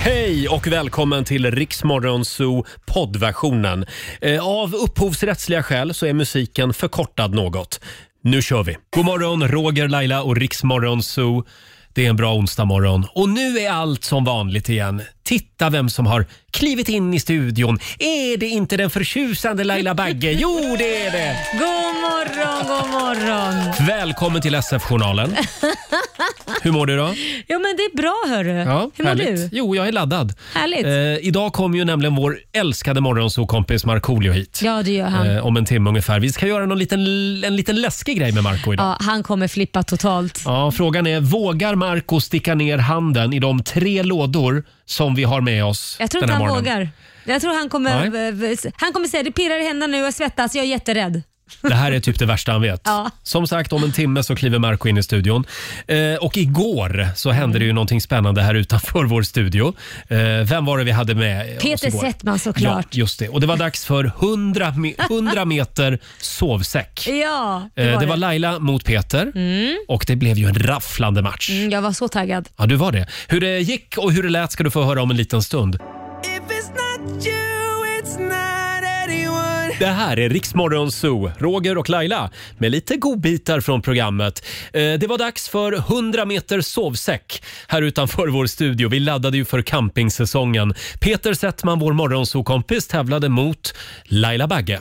Hej och välkommen till Riksmorgon Zoo poddversionen. Eh, Av upphovsrättsliga skäl så är musiken förkortad något. Nu kör vi! God morgon, Roger, Laila och Riksmorgon Zoo. Det är en bra onsdagmorgon och nu är allt som vanligt igen. Titta vem som har klivit in i studion. Är det inte den förtjusande Laila Bagge? Jo, det är det! God morgon, god morgon. Välkommen till SF-journalen. Hur mår du då? Jo men det är bra hörru. Hur mår härligt. du? Jo, jag är laddad. Härligt. Eh, idag kommer ju nämligen vår älskade morgonsokompis Markoolio hit. Ja det gör han. Eh, om en timme ungefär. Vi ska göra någon liten, en liten läskig grej med Marco idag. Ja. Ja, han kommer flippa totalt. frågan är, vågar Marco sticka ner handen i de tre lådor som vi har med oss Jag tror den inte här han morgonen? vågar. Jag tror han kommer, Nej. eh, eh, han kommer säga det pirrar i händerna nu, jag svettas, jag är jätterädd. Det här är typ det värsta han vet. Ja. Som sagt, om en timme så kliver Marco in i studion. Eh, och igår så hände det ju någonting spännande här utanför vår studio. Eh, vem var det vi hade med oss Peter igår? Settman såklart. Ja, just det. Och det var dags för 100, me- 100 meter sovsäck. Ja, Eh, det var, Det var det. Laila mot Peter och det blev ju en rafflande match. Mm, Jag var så taggad. Ja, du var det. Hur det gick och hur det lät ska du få höra om en liten stund. Det här är Riksmorgon Zoo, Roger och Laila med lite godbitar från programmet. Eh, Det var dags för 100 meter sovsäck här utanför vår studio. Vi laddade ju för campingsäsongen. Peter Settman, vår morgonsokompis, tävlade mot Laila Bagge.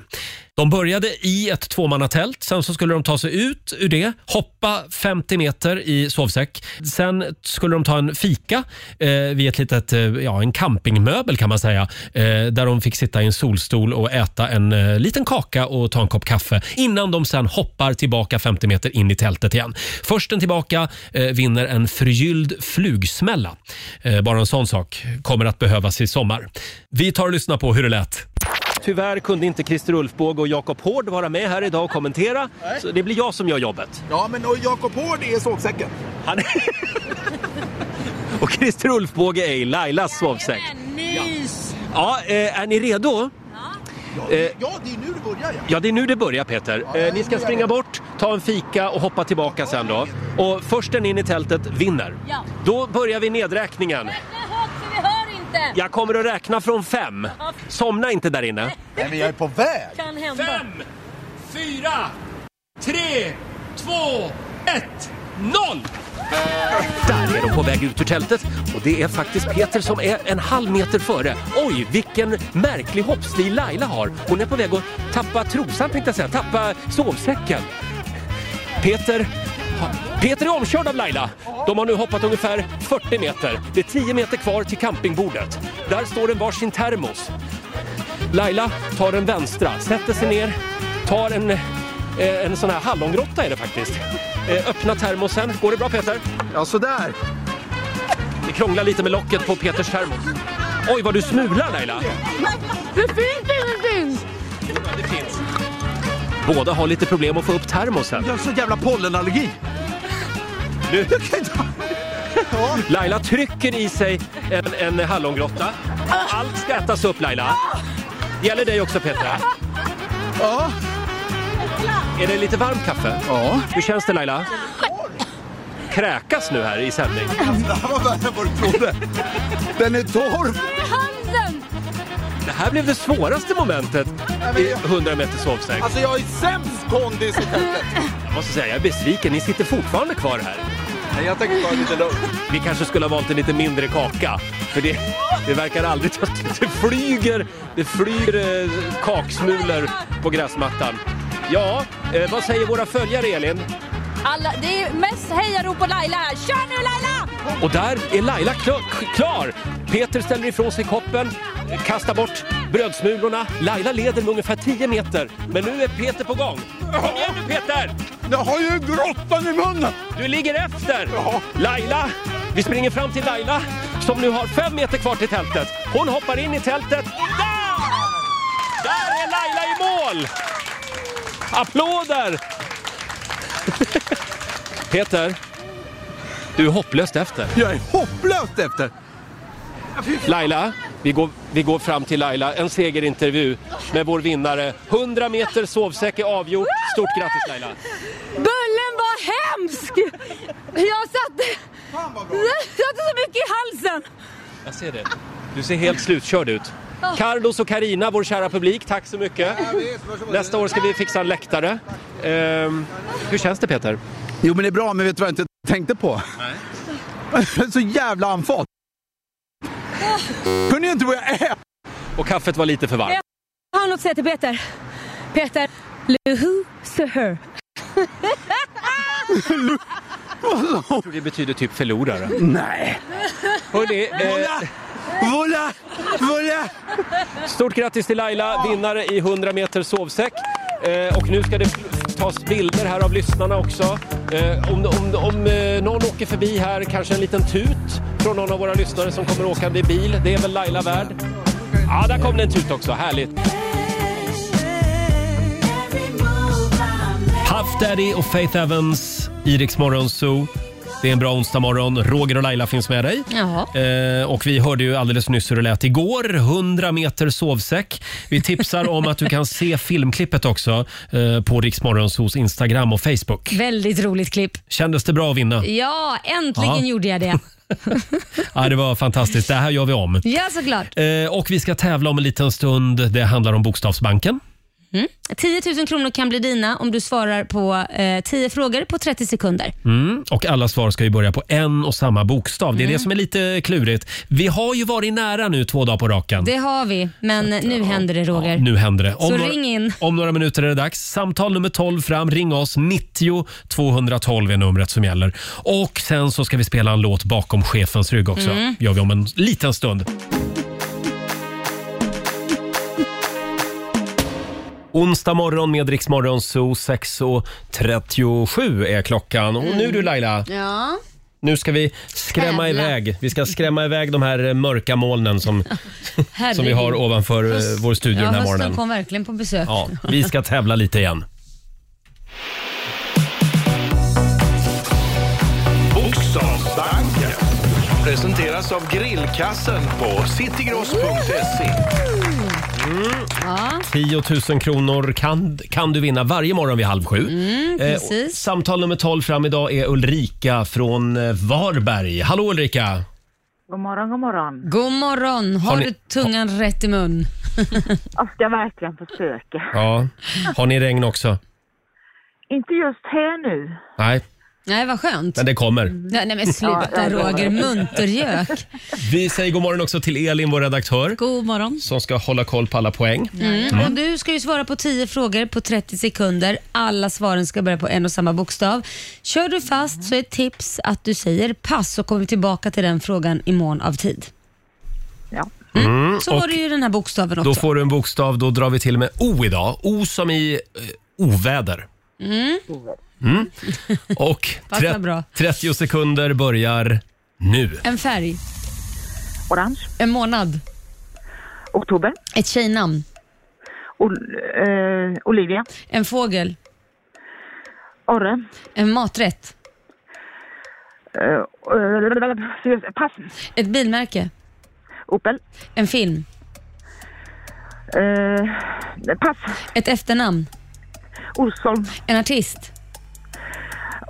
De började i ett tvåmannatält, sen så skulle de ta sig ut ur det, hoppa 50 meter i sovsäck. Sen skulle de ta en fika eh, vid ett litet, eh, ja en campingmöbel kan man säga, eh, där de fick sitta i en solstol och äta en eh, liten kaka och ta en kopp kaffe innan de sen hoppar tillbaka 50 meter in i tältet igen. Försten tillbaka eh, vinner en förgylld flugsmälla. Eh, bara en sån sak kommer att behövas i sommar. Vi tar och lyssnar på hur det lät. Tyvärr kunde inte Christer Ulfbåge och Jakob Hård vara med här idag och kommentera. Så det blir jag som gör jobbet. Ja, men och Jakob Hård är sovsäcken. Han... och Christer Ulfbåge är i Lailas sovsäck. Mys! Ja, eh, är ni redo? Ja, Eh. ja, det är nu det börjar. Ja. Ja, det är nu det börjar Peter. Eh, ni ska springa bort, ta en fika och hoppa tillbaka sen då. Och försten in i tältet vinner. Ja. Då börjar vi nedräkningen. vi hör inte! Jag kommer att räkna från fem. Somna inte där inne. Nej, men jag är på väg. Kan hända. fyra, tre, två, ett, noll! Där är de på väg ut ur tältet och det är faktiskt Peter som är en halv meter före. Oj, vilken märklig hoppstil Laila har. Hon är på väg att tappa trosan tänkte jag säga, tappa sovsäcken. Peter, Peter är omkörd av Laila. De har nu hoppat ungefär 40 meter. Det är 10 meter kvar till campingbordet. Där står en varsin termos. Laila tar den vänstra, sätter sig ner, tar en, eh, en sån här hallongrotta är det faktiskt. Eh, Öppnar termosen. Går det bra Peter? Ja, sådär. Det krånglar lite med locket på Peters termos. Oj, vad du smular Laila! Det finns ingenting! Det finns. Båda har lite problem att få upp termosen. Jag har så jävla pollenallergi. Nu- Jag kan inte... Ja, Laila trycker i sig en, en hallongrotta. Allt ska ätas upp Laila. Gäller dig också Petra. ja. Är det lite varmt kaffe? ja. Hur känns det Laila? Kräkas nu här i sändning. Det här var värre än vad du trodde. Den är torr. Handen! Det här blev det svåraste momentet i 100 meter sovsäck. Alltså, jag är sämst kondis i tältet. Jag måste säga, jag är besviken. Ni sitter fortfarande kvar här. Nej, jag tänkte ta det lite lugnt. Vi kanske skulle ha valt en lite mindre kaka. För det, det verkar aldrig... ta- Det flyger, det flyger eh, kaksmulor på gräsmattan. Ja, eh, vad säger våra följare, Elin? Alla, det är mest hejarop på Laila här. Kör nu Laila! Och där är Laila kla- klar! Peter ställer ifrån sig koppen, kastar bort brödsmulorna. Laila leder med ungefär 10 meter. Men nu är Peter på gång. Kom igen nu, Peter! Jag har ju grottan i munnen. Du ligger efter! Ja. Laila! Vi springer fram till Laila som nu har fem meter kvar till tältet. Hon hoppar in i tältet och där! Där är Laila i mål! Applåder! Peter, du är hopplöst efter. Jag är hopplöst efter. Laila, vi går, vi går fram till Laila. En segerintervju med vår vinnare. 100 meter sovsäck är avgjort. Stort grattis Laila! Bullen var hemsk! Jag satte... Jag satte så mycket i halsen! Jag ser det. Du ser helt slutkörd ut. Carlos och Karina, vår kära publik, tack så mycket. Nästa år ska vi fixa en läktare. Ehm, hur känns det Peter? Jo men det är bra, men vet du vad jag inte tänkte på? Nej. så jävla andfådd. Kunde ju inte vad jag är. Och kaffet var lite för varmt. Jag har något att säga till Peter. Peter, Luhu Suher. Jag tror det betyder typ förlorare. Nej. Hörrni, eh, Vola! Vola! stort grattis till Laila, vinnare i 100 meter sovsäck. Eh, och nu ska det tas bilder här av lyssnarna också. Eh, om om, om eh, någon åker förbi här, kanske en liten tut från någon av våra lyssnare som kommer åkande i bil. Det är väl Laila värd. Ja, där kom det en tut också. Härligt. Puff Daddy och Faith Evans, Iriks Morgonzoo. Det är en bra onsdag morgon. Roger och Laila finns med dig. Ja. Eh, och vi hörde ju alldeles nyss hur det lät igår. 100 meter sovsäck. Vi tipsar om att du kan se filmklippet också eh, på Rix Morgonzoos Instagram och Facebook. Väldigt roligt klipp. Kändes det bra att vinna? Ja, äntligen Ja. gjorde jag det. Ja, det var fantastiskt. Det här gör vi om. Ja, såklart. Eh, och vi ska tävla om en liten stund. Det handlar om Bokstavsbanken. 10 000 kronor kan bli dina om du svarar på eh, 10 frågor på 30 sekunder. Mm. Och alla svar ska ju börja på en och samma bokstav. Det är det som är lite klurigt. Vi har ju varit nära nu två dagar på raken. Det har vi, men nu händer det Roger. Nu händer det. Så några- ring in. om några minuter är det dags. Samtal nummer 12 fram. Ring oss. 90 212 är numret som gäller. Och sen så ska vi spela en låt bakom chefens rygg också. Mm. Gör vi om en liten stund. Onsdag morgon med Rix Morgon Zoo 6.37 är klockan. Och nu du Laila, Mm. Ja. nu ska vi skrämma Jävlar. iväg. Vi ska skrämma iväg de här eh, mörka molnen som, som vi Herregud. har ovanför eh, vår studio ja, den här hösten morgonen. kom verkligen på besök. Ja, vi ska tävla lite igen. Bokstavsbanken presenteras av grillkassen på citygross.se. 10 000 kronor kan, kan du vinna varje morgon vid halv sju. Eh, och Mm, precis. samtal nummer 12 fram idag är Ulrika från eh, Varberg. Hallå Ulrika! God morgon, god morgon. God morgon. Har, Har ni- du tungan rätt i mun? Jag ska verkligen försöka. Ja. Har ni regn också? Inte just här nu. Nej, Nej, vad skönt. men det kommer. Nej, nej men sluta Roger. Muntergök. Vi säger god morgon också till Elin, vår redaktör, God morgon. som ska hålla koll på alla poäng. Mm. Och du ska ju svara på 10 frågor på 30 sekunder. Alla svaren ska börja på en och samma bokstav. Kör du fast så är ett tips att du säger pass så kommer vi tillbaka till den frågan i mån av tid. Ja. Mm, så var det ju den här bokstaven också. Då får du en bokstav, då drar vi till med O idag. O som i eh, oväder. Mm. Och Passar tre- bra. 30 sekunder börjar nu. En färg, Orange, en månad, oktober, ett tjejnamn, ol, eh, Olivia, en fågel, Orre. en maträtt, Eh, eh, pass. ett bilmärke, Opel. en film, Eh, pass. ett efternamn, Olsson. en artist,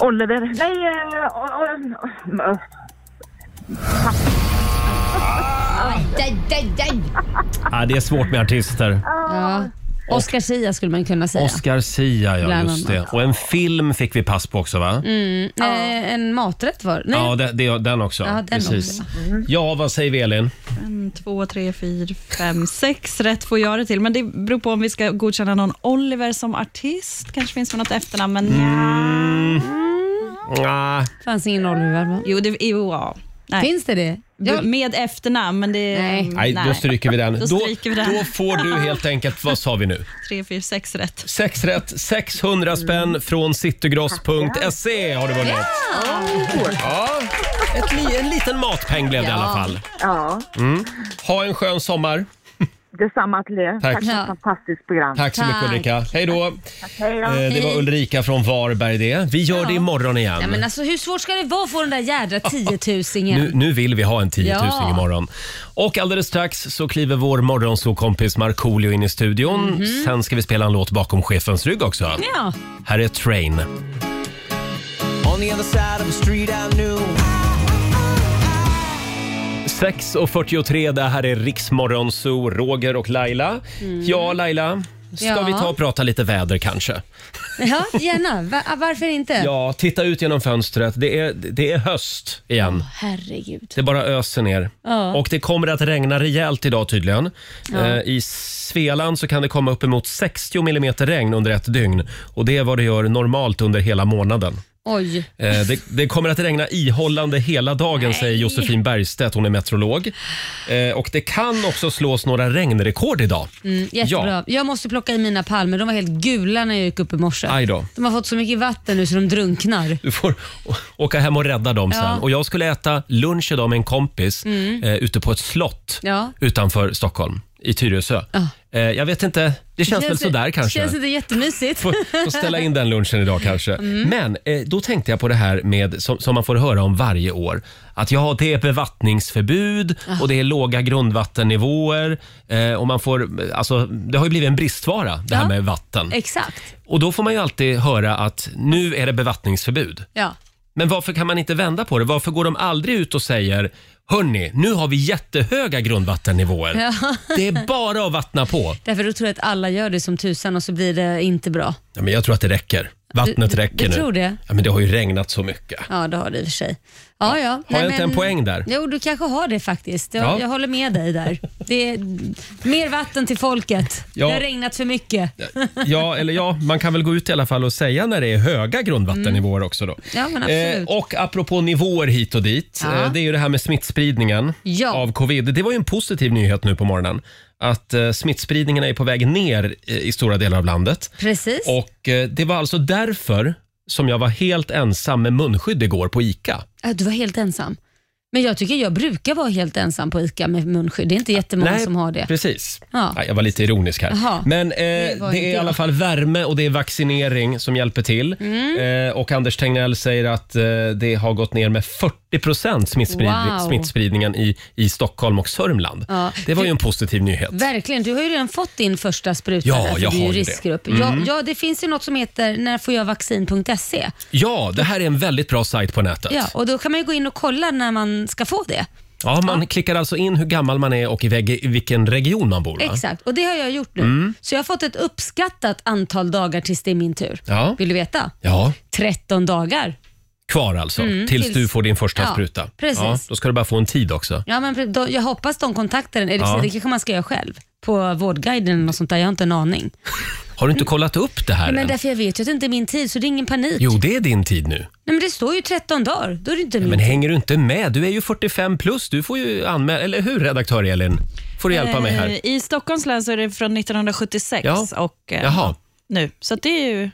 Oliver. Nej, eh, o- o- o- Daj, daj, daj. Ah, det är svårt med artister. ja. Oscar Sia skulle man kunna säga. Oscar Sia, ja Bland just det. Och en film fick vi pass på också va? Nej, en maträtt var Nej, Ja, det, det, den också. Ja, den Precis. Ja, vad säger vi Elin? En, Mm, två, tre, fyra, fem, sex rätt får jag det till. Men det beror på om vi ska godkänna någon Oliver som artist. Kanske finns det något efternamn, men Ah, fanns ingen Oliver va? jo, det jo, ja. Nej. Finns det det? Ja. Med efternamn, men det Mm, Nej. nej, då stryker vi den. Då stryker vi den. då får du helt enkelt, vad sa vi nu? Tre, fyra, sex rätt. Sex rätt, 600 spänn från citygross.se har du vunnit. Ja, ett li, en liten matpeng blev det i alla fall. ja, Ha en skön sommar. detsamma till er. Tack. Tack för Ja. ett fantastiskt program. Tack så mycket Tack. Ulrika. Hej då. Eh, Hej då. Det var Ulrika från Varberg det. Vi gör det imorgon igen. Ja, men alltså, hur svårt ska det vara att få den där jädra Nu, tiotusingen? nu vill vi ha en 10 000 Ja. imorgon. Och alldeles strax så kliver vår morgonsåkompis Markoolio in i studion. Sen ska vi spela en låt bakom chefens rygg också. Mhm. Ja. Här är Train. 6.43, det här är Riksmorgon Zoo, Roger och Laila. Ja, Laila, ska Mm. Ja. vi ta och prata lite väder kanske? Ja, gärna. Va- varför inte? Ja, titta ut genom fönstret. Det är, det är höst igen. Herregud. Det bara öser ner. Ja. Och det kommer att regna rejält idag tydligen. Eh, I Svealand så kan det komma uppemot 60 millimeter regn under ett dygn. Och det är vad det gör normalt under hela månaden. Oj. Eh, Det, det kommer att regna ihållande hela dagen, säger Josefin Bergstedt. Hon är meteorolog. Eh, Och det kan också slås några regnrekord idag. Mm, jättebra. Jag måste plocka i mina palmer. De var helt gula när jag gick upp i morse. Aj då. De har fått så mycket vatten nu så de drunknar. Du får å- åka hem och rädda dem Ja. Mm. sen. Och jag skulle äta lunch idag med en kompis eh, ute på ett slott Ja. utanför Stockholm, i Tyresö. Eh, jag vet inte, det känns väl sådär kanske. Känns inte jättemysigt? Får, får ställa in den lunchen idag kanske. Mm. Men eh, då tänkte jag på det här med, som, som man får höra om varje år. Att ja, det är bevattningsförbud Ah. och det är låga grundvattennivåer. Eh, och man får, alltså, det har ju blivit en bristvara det Ja. här Eh. med vatten. Exakt. Och då får man ju alltid höra att nu är det bevattningsförbud. Ja. Men varför kan man inte vända på det? Varför går de aldrig ut och säger Hörni, nu har vi jättehöga grundvattennivåer. Det är bara att vattna på. Därför då tror jag att alla gör det som tusan och så blir det inte bra. Ja, men jag tror att det räcker. Vattnet Du- du- räcker du nu. tror det? Ja, men det har ju regnat så mycket. Ja, det har det i och för sig. Ja, ja. Har jag inte en poäng där? Jo, du kanske har det faktiskt. Jag, Ja. jag håller med dig där. Det är mer vatten till folket. Ja. Det har regnat för mycket. Ja, eller ja, man kan väl gå ut i alla fall och säga när det är höga grundvattennivåer också då. Mm. Eh, Ja, men absolut. och apropå nivåer hit och dit, Ja. eh, det är ju det här med smittspridningen Ja. av covid. Det var ju en positiv nyhet nu på morgonen. Att eh, smittspridningen är på väg ner eh, i stora delar av landet. Precis. Och eh, det var alltså därför som jag var helt ensam med munskydd igår på ICA. Ja, Du var helt ensam. Men jag tycker jag brukar vara helt ensam på ICA med munskydd. Det är inte jättemånga som har det. Precis. Ja. Nej, jag var lite ironisk här. Jaha. Men eh, det, var inte är i jag. alla fall värme och det är vaccinering som hjälper till. Mm. Eh, och Anders Tegnell säger att eh, det har gått ner med 40 procent Wow. smittspridningen i, i Stockholm och Sörmland. Ja. Det var ju en positiv nyhet. Verkligen, du har ju redan fått din första spruta. Ja, där, för jag det är ju har ju det. Mm. riskgrupp. Ja, ja, det finns ju något som heter närfårjagvaccin.se. Ja, det här är en väldigt bra sajt på nätet. Ja, och då kan man ju gå in och kolla när man ska få det. Ja, man klickar alltså in hur gammal man är och i, väg, i vilken region man bor. Va? Exakt, och det har jag gjort nu. Mm. Så jag har fått ett uppskattat antal dagar tills det är min tur. Ja. Vill du veta? Ja, 13 dagar. kvar alltså, tills, Mm, tills- du får din första Ja, spruta. precis. Ja, då ska du bara få en tid också. Ja, men pre- då, jag hoppas de kontaktar en. Eller Ja. så det kanske man ska göra själv. På Vårdguiden eller något sånt där. Jag har inte en aning. Har du inte kollat upp det här Mm. Men än? därför jag vet ju att det inte är min tid, så det är ingen panik. Jo, det är din tid nu. Nej, men det står ju 13 dagar. Då är det inte min Men tid. hänger du inte med? Du är ju 45 plus. Du får ju anmäla, eller hur redaktör Elin? Får du hjälpa mig här? Eh, I Stockholms län så är det från 1976 Ja. och eh, Jaha. nu. Så att det är ju Ja,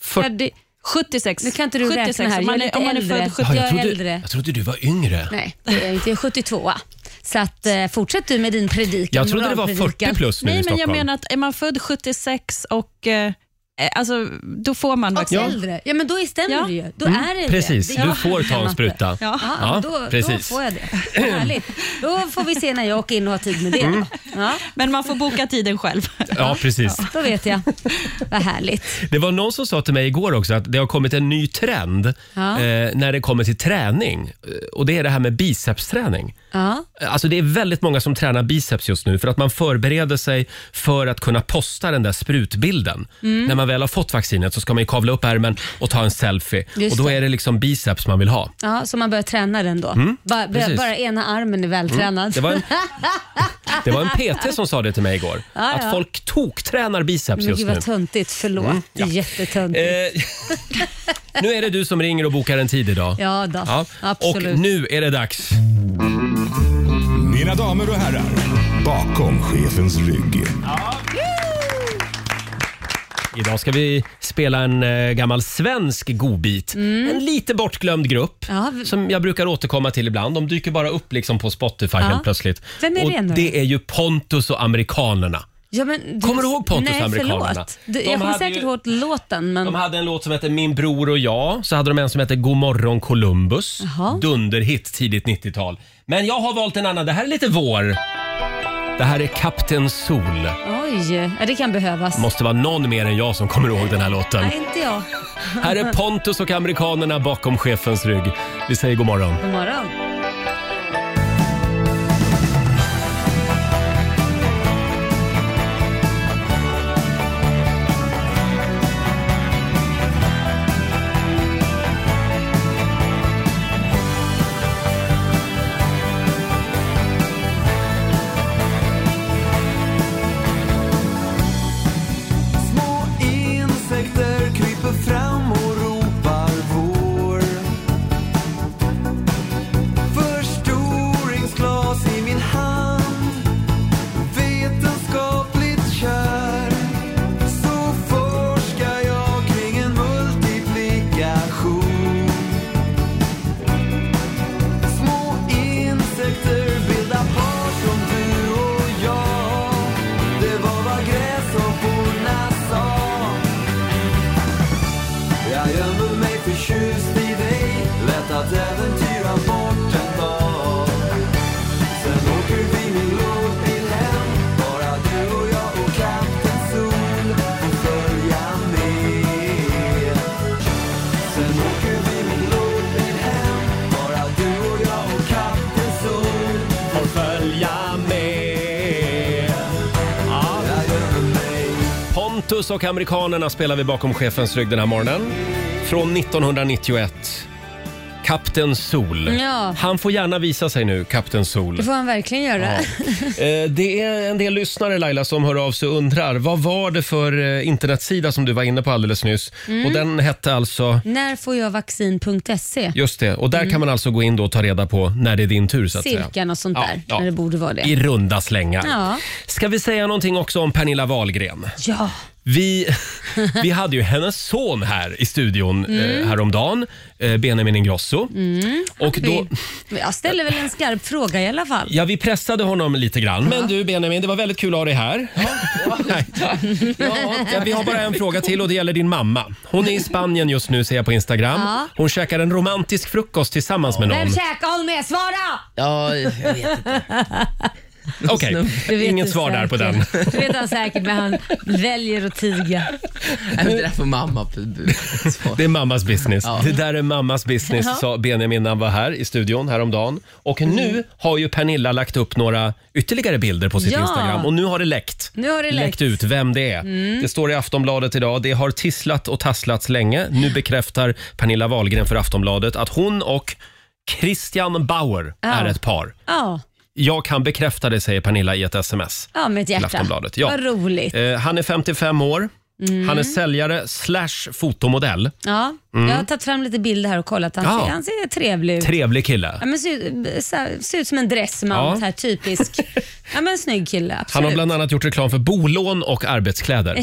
För... det, 76. nu kan inte du 76, räkna här. Om man jag är är, om man är lite äldre. född 70. jag, är jag, trodde, äldre. jag trodde du var yngre. Nej, det är jag inte. Jag är 72. Så att, eh, fortsätt du med din predikan. Jag trodde det var moralpredikan. 40 plus nu i Nej, men Stockholm. jag menar att är man född 76 och eh, eh, alltså, då får man Och äldre. Ja, men då är- stämmer Ja. det ju. Då är det Mm. Precis, det. Det är du får ta en matte. spruta. Ja. Ja, Ja, då, då precis. får jag det. Härligt. Då får vi se när jag åker in och har tid med det. Mm. Ja, Men man får boka tiden själv. Ja, precis. då vet jag. Vad härligt. Det var någon som sa till mig igår också att det har kommit en ny trend Ja. eh, när det kommer till träning. Eh, Och det är det här med bicepsträning. Ja. Alltså det är väldigt många som tränar biceps just nu för att man förbereder sig för att kunna posta den där sprutbilden. Mm. När man väl har fått vaccinet så ska man ju kavla upp ärmen och ta en selfie. Just och då det. är det liksom biceps man vill ha. Ja, så man börjar träna den då. bara, Mm, precis. Mm, bara ena armen är vältränad. Det var en, det var en PT som sa det till mig igår. Ja, ja. Att folk toktränar biceps Men just gud nu. Mm, vad töntigt, förlåt. Det är jättetöntigt. Eh, nu är det du som ringer och bokar en tid idag. Ja då, Ja. absolut. Och nu är det dags. Mina damer och herrar, bakom chefens rygg. Idag ska vi spela en eh, gammal svensk godbit. En lite bortglömd grupp Mm. Ja, vi- som jag brukar återkomma till ibland. De dyker bara upp liksom på Spotify helt plötsligt. Vem är och det nu? det är ju Pontus och amerikanerna. Ja, men Kommer du ihåg Pontus Nej, Amerikanerna? förlåt. Du, De jag kommer hade säkert ju- ihåg låten, men De hade en låt som hette Min bror och jag. Så hade de en som hette God morgon Columbus. Jaha. Dunderhit tidigt 90-tal. Men jag har valt en annan. Det här är lite vår. Det här är Kapten Sol. oj, ja, det kan behövas. Måste vara någon mer än jag som kommer ihåg den här låten. Nej, inte jag. Här är Pontus och amerikanerna bakom chefens rygg. Vi säger god morgon. God morgon. Pontus och amerikanerna spelar vi bakom chefens rygg den här morgonen. Från 1991. Kapten Sol. Ja. Han får gärna visa sig nu, Kapten Sol. Det får han verkligen göra. Eh, Det är en del lyssnare Laila som hör av sig och undrar vad var det för eh, internetsida som du var inne på alldeles nyss? Mm. Och den hette alltså När får jag vaccin.se? Just det, och där Mm. kan man alltså gå in då och ta reda på när det är din tur så att säga. Cirkeln och sånt Ja, där. ja. När det borde vara I det. runda slängar. Ja. Ska vi säga någonting också om Pernilla Wahlgren? Ja. Vi, vi hade ju hennes son här i studion Mm. eh, häromdagen, eh, Benjamin Ingrosso. Och då, Vi, jag ställer väl en skarp fråga i alla fall. ja, vi pressade honom lite grann. Men du Benjamin, det var väldigt kul att ha dig här. Nej. Ja, vi har bara en fråga till och det gäller din mamma. Hon är i Spanien just nu ser jag på Instagram. Ja. Hon käkar en romantisk frukost tillsammans med Vem någon. käkar hon med? Svara! Ja, jag vet inte. Okej, Du vet inget det svar där på den. säkert. Det vet han säkert, men han väljer att tiga. Nej, men Det där får mamma svara Det är mammas business. Det där är mammas business, sa Benjamin när han var här i studion häromdagen. Och Mm. nu har ju Pernilla lagt upp några ytterligare bilder på sitt Ja. Instagram och nu har det läckt. Nu har det läckt. Mm. ut vem det är. Det står i Aftonbladet idag. Det har tisslat och tasslats länge. Nu bekräftar Pernilla Wahlgren för Aftonbladet att hon och Christian Bauer är ett par. Ja, Jag kan bekräfta det, säger Pernilla i ett sms. ja med ett Till hjärta. Aftonbladet, ja. Vad roligt. Eh, han är 55 år. Mm. Han är säljare slash fotomodell. Ja, Jag har tagit fram lite bilder här och kollat. Han, Mm. Ja. ser, han ser trevlig ut. Trevlig kille. Ja, men ser, så här, ser ut som en dressman, Ja. så här, typisk. ja, men snygg kille, absolut. Han har bland annat gjort reklam för bolån och arbetskläder.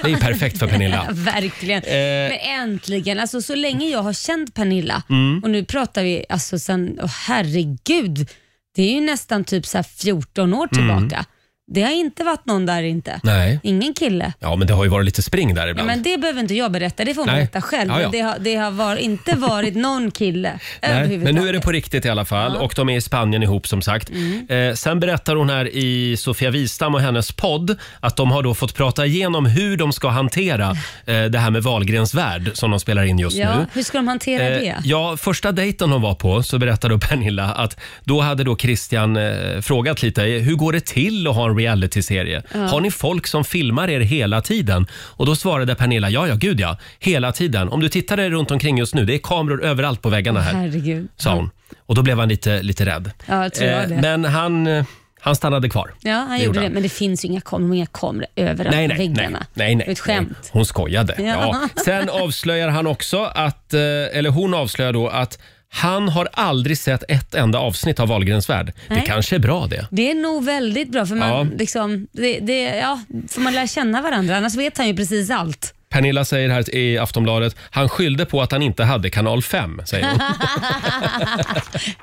Det är ju perfekt för Pernilla. Ja, verkligen. Eh, Men äntligen. Alltså, så länge jag har känt Pernilla, Mm. och nu pratar vi alltså sen, oh, herregud, det är ju nästan typ så här 14 år Mm. tillbaka. Det har inte varit någon där inte. Nej. Ingen kille. Ja, men det har ju varit lite spring där Ja, ibland. men det behöver inte jag berätta, det får hon Nej. berätta själv. Ja, ja. Men Det har, det har var, inte varit någon kille Nej, men överhuvudtaget. nu är det på riktigt i alla fall och de är i Spanien ihop som sagt. Mm. Eh, sen berättar hon här i Sofia Wistam och hennes podd att de har då fått prata igenom hur de ska hantera eh, det här med Wahlgrens värld som de spelar in just ja, nu. hur ska de hantera Eh, det? ja, första dejten hon var på så berättade då Pernilla att då hade då Christian eh, frågat lite hur går det till att ha en realityserie? Har ni folk som filmar er hela tiden? Och då svarade Pernilla ja, ja, gud ja, hela tiden. Om du tittar dig runt omkring just nu, det är kameror överallt på väggarna här, Herregud. sa hon. Och då blev han lite, lite rädd. Ja, jag tror jag det. men han, eh, han stannade kvar. Ja, han gjorde det. Men det finns ju inga kameror, inga kameror överallt Nej, på nej, nej, väggarna. nej, nej. Ett skämt. Hon skojade. Ja. Ja. Sen avslöjar han också att, eh, eller hon avslöjar då att han har aldrig sett ett enda avsnitt av Wahlgrens värld. Det Nej. kanske är bra det. Det är nog väldigt bra för man, Ja. liksom, det, det, ja, för man lär känna varandra, annars vet han ju precis allt. Pernilla säger här i Aftonbladet, han skyllde på att han inte hade kanal 5, säger hon.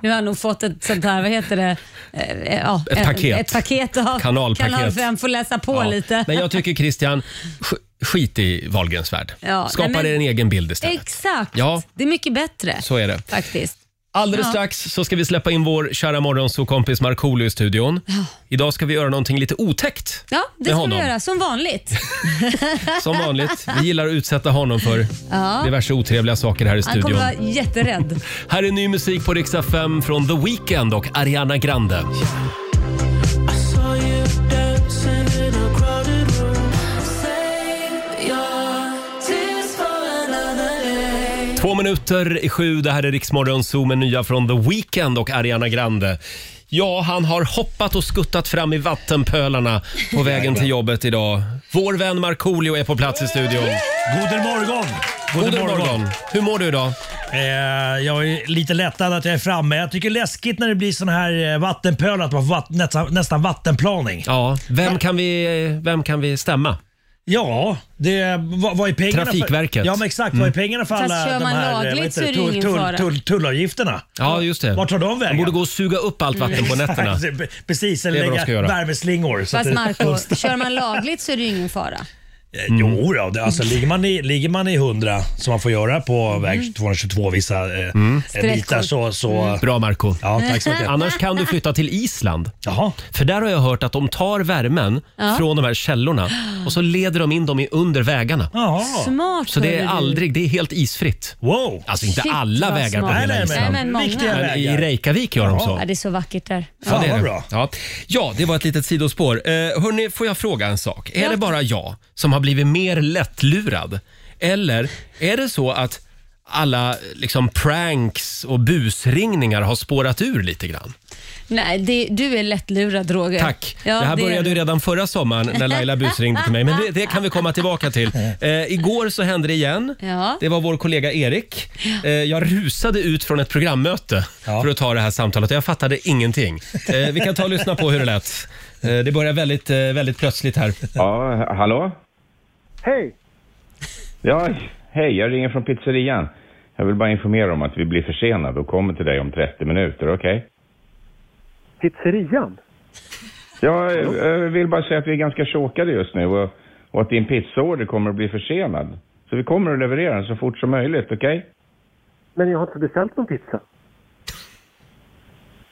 Nu har han nog fått ett sånt här, vad heter det? Eh, eh, Ja, Ett eh, paket. Ett paket av Kanalpaket. Kanal 5, får läsa på Ja. lite. Men jag tycker Christian, sk- skit i Wahlgrens värld. Ja, Skapa nej, men- dig en egen bild istället. Exakt, Ja. det är mycket bättre Så är det. faktiskt. Alldeles Ja. strax så ska vi släppa in vår kära morgonsokompis Markoolio i studion. Idag ska vi göra någonting lite otäckt Ja, det med ska honom. vi göra som vanligt. Som vanligt. Vi gillar att utsätta honom för diverse otrevliga saker här i Han kommer studion. vara jätterädd. Här är ny musik på Riksa 5 från The Weeknd och Ariana Grande. Två minuter i sju. Det här är Riksmorgon Zoo med nya från The Weeknd och Ariana Grande. Ja, han har hoppat och skuttat fram i vattenpölarna på vägen till jobbet idag. Vår vän Markoolio är på plats i studion. God morgon! God morgon. Hur mår du idag? Eh, jag är lite lättad att jag är framme. Jag tycker det är läskigt när det blir sån här eh, vattenpöl, att man får vatt, nästan, nästan vattenplaning. Ja, vem kan vi, vem kan vi stämma? Ja, det, vad, vad är pengarna Trafikverket. Mm. För, ja, men exakt. Vad är pengarna för Fast alla kör de man här eh, lagligt vad så heter är det ju ingen fara. tullavgifterna? Ja, just det. Vart tar de vägen? alltså, De borde gå och suga upp allt vatten på nätterna. Precis, Det är eller vad de ska lägga göra. värmeslingor. så att Fast det- Eh, Marco, kör man lagligt så är det ju ingen fara. Jo då, det, alltså, Mm. ligger, man i, ligger man i 100 som man får göra på väg 222 vissa eh, Mm. eh, bitar Sträckor. så... så Bra Marco Ja, tack Mm. så mycket. Annars kan du flytta till Island. Jaha. För där har jag hört att de tar värmen från de här källorna och så leder de in dem i under vägarna. Jaha. Smart Så det är hörru du. aldrig, det är helt isfritt. Wow. Alltså inte Shit, alla vad vägar på smart. Nej, hela nej, Island. men, Nej, men många. viktiga Men Men vägar. i Reykjavik gör de så. Ja, det är så vackert där. Ja, Fan, det är vad det. bra. Ja. ja, det var ett litet sidospår. Eh, hörni, får jag fråga en sak? Är Ja. det bara jag som har blivit mer lättlurad? Eller är det så att alla liksom pranks och busringningar har spårat ur lite grann? Nej, det, du är lättlurad Roger. Tack. Ja, det här är började ju du. redan förra sommaren när Laila busringde till mig, men det, det kan vi komma tillbaka till. Eh, igår så hände det igen. Ja. Det var vår kollega Erik. Eh, jag rusade ut från ett programmöte för att ta det här samtalet och jag fattade ingenting. Eh, vi kan ta och lyssna på hur det lät. Eh, det börjar väldigt, eh, väldigt plötsligt här. Ja, hallå? Hej! Ja, hej, jag ringer från pizzerian. Jag vill bara informera om att vi blir försenade och kommer till dig om 30 minuter, okej? Pizzerian? Ja, Jag, jag vill bara säga att vi är ganska chokade just nu och, och att din pizzaorder kommer att bli försenad. Så vi kommer att leverera den så fort som möjligt, okej? Men jag har inte beställt någon pizza.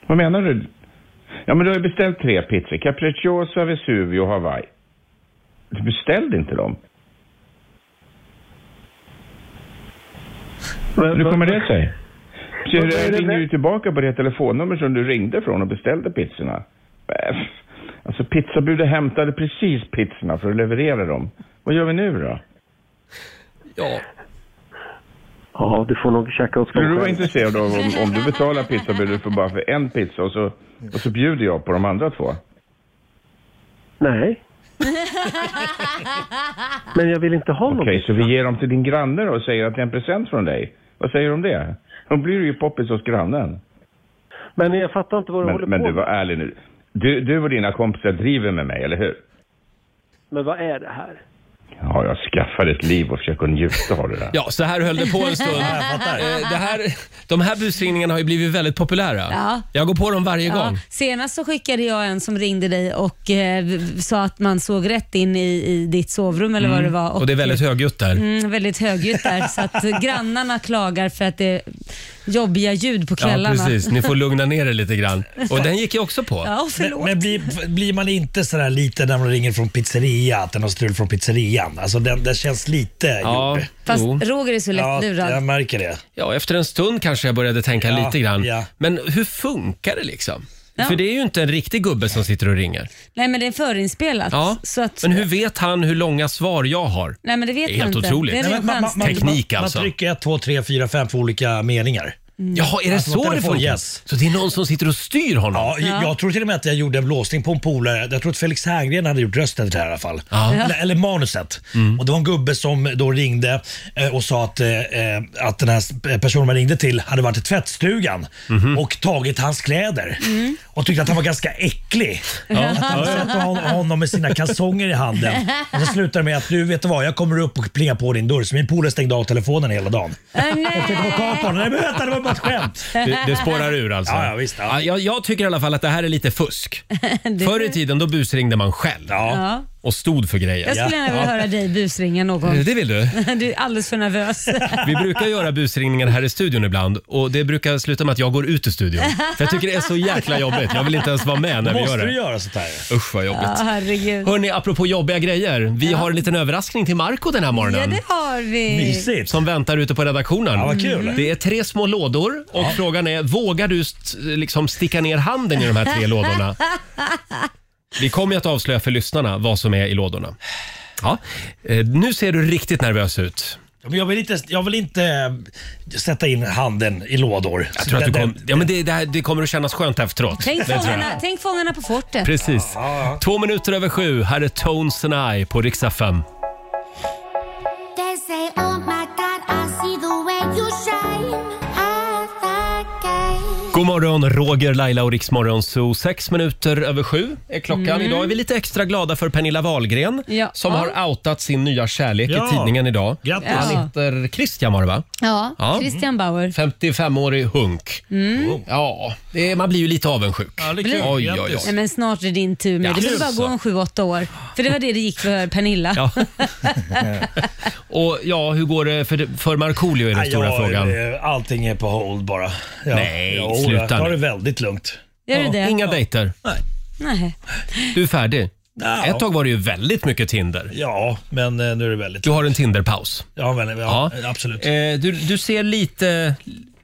Vad menar du? Ja, men du har ju beställt tre pizzor. Capricciosa, Vesuvio och Hawaii. Du beställde inte dem. Hur kommer det sig? Så Vad är det ringer med- du tillbaka på det telefonnummer som du ringde från och beställde pizzorna. Äh, Alltså pizzabudet hämtade precis pizzorna för att leverera dem. Vad gör vi nu då? Ja. Ja, du får nog käka åt Skulle du vara intresserad av om, om du betalar pizzabudet för bara för en pizza och så, och så bjuder jag på de andra två? Nej. Men jag vill inte ha någon Okej, så vi ger dem till din granne då och säger att det är en present från dig. Vad säger du om det? Då blir du ju poppis hos grannen. Men jag fattar inte vad du Men, håller men på du, var ärlig nu. Du, du och dina kompisar driver med mig, eller hur? Men vad är det här? Ja, jag skaffar ett liv och försöker njuta av det där. Ja, så här höll det på en stund. Eh, Det här, de här busringningarna har ju blivit väldigt populära. Ja. Jag går på dem varje Ja, gång. senast så skickade jag en som ringde dig och eh, v- sa att man såg rätt in i, i ditt sovrum eller vad det var. Mm. Och, det är väldigt högljutt där. Mm, väldigt högljutt där, så att grannarna klagar för att det är jobbiga ljud på Ja, kvällarna. precis. Ni får lugna ner er lite grann. Och den gick jag också på. Ja, förlåt. Men, men blir, blir man inte sådär lite när man ringer från pizzeria, att den har strul från pizzerian? Alltså den, den känns lite Ja, jobbig. Fast Roger är så lättlurad. Ja, jag märker det. Ja, efter en stund kanske jag började tänka Ja, lite grann. ja. Men hur funkar det liksom? Ja. För det är ju inte en riktig gubbe som sitter och ringer. Nej, men det är förinspelat. Ja. Så att, Men hur vet han hur långa svar jag har? Nej, men det vet Det är helt jag inte. otroligt. Det är Nej, ren men man- chans. man- Teknik man, alltså. Man trycker ett, två, tre, fyra, fem på olika meningar. Mm. Jaha, är det Alltså, så det telefon- funkar? Yes. Så det är någon som sitter och styr honom? Ja, jag, jag tror till och med att jag gjorde en blåsning på en polare. Jag tror att Felix Herngren hade gjort rösten till det här i alla fall. Ja. Eller, eller manuset. Och Det var en gubbe som då ringde eh, och sa att, eh, eh, att den här personen man ringde till hade varit i tvättstugan och tagit hans kläder. Och tyckte att han var ganska äcklig. Ja. Att han satt hon- honom med sina kalsonger i handen. Och så slutade det med att du vet du vad, jag kommer upp och plingar på din dörr. Så min polare stängde av telefonen hela dagen. Och fick åka upp honom. Nej men vänta, det var bara ett skämt. Det, det spårar ur alltså? Ja, Ja, jag, jag tycker i alla fall att det här är lite fusk. Det- Förr i tiden då busringde man själv Ja. och stod för grejer. Jag skulle gärna vilja Ja. höra dig busringa någon. Det vill du? Du är alldeles för nervös. Vi brukar göra busringningar här i studion ibland och det brukar sluta med att jag går ut ur studion. För jag tycker det är så jäkla jobbigt. Jag vill inte ens vara med när vi Måste gör det. du göra sånt här? Usch vad jobbigt. Ja, herregud. Hörni, apropå jobbiga grejer. Vi har en liten överraskning till Marco den här morgonen. Ja, det har vi. Som väntar ute på redaktionen. Ja, vad kul. Det är tre små lådor och frågan är, vågar du st- liksom sticka ner handen i de här tre lådorna? Vi kommer ju att avslöja för lyssnarna vad som är i lådorna. Ja, eh, nu ser du riktigt nervös ut. Ja, men Jag vill, inte, jag vill inte eh, sätta in handen i lådor. Jag tror att du kom, ja, men det, det, här, det kommer att kännas skönt efteråt. Tänk Det tror jag. fångarna, tänk fångarna på fortet. Precis. Två minuter över sju. Här är Tones and I på Riksa 5. They say, oh my god, I see the way you shine. I like it. God morgon, Roger, Laila och Riksmorgon Zoo. Sex minuter över sju är klockan. Mm. Idag är vi lite extra glada för Pernilla Wahlgren Ja. som har outat sin nya kärlek Ja. i tidningen idag. Grattis. Han heter Christian var det va? Ja, Ja. Christian Bauer. 55-årig hunk. Mm. Ja, det är, man blir ju lite avundsjuk. Ja, Blir- Oj, oj, oj. Nej, men snart är det din tur nu. Ja. det behöver Kul bara gå så. om sju, åtta år. För det var det det gick för Pernilla. Ja. Och ja, hur går det för, för Markoolio är den Nej, stora jag- frågan. eh, Allting är på hold bara. Ja. Nej, Jo, sluta Jag tar nu. det väldigt lugnt. Gör du det? Inga dejter. Nej. Du är färdig. Ja. Ett tag var det ju väldigt mycket Tinder. Ja, men eh, nu är det väldigt... Eh, Du har en Tinderpaus. Ja, men, ja, absolut. Eh, du, du ser lite,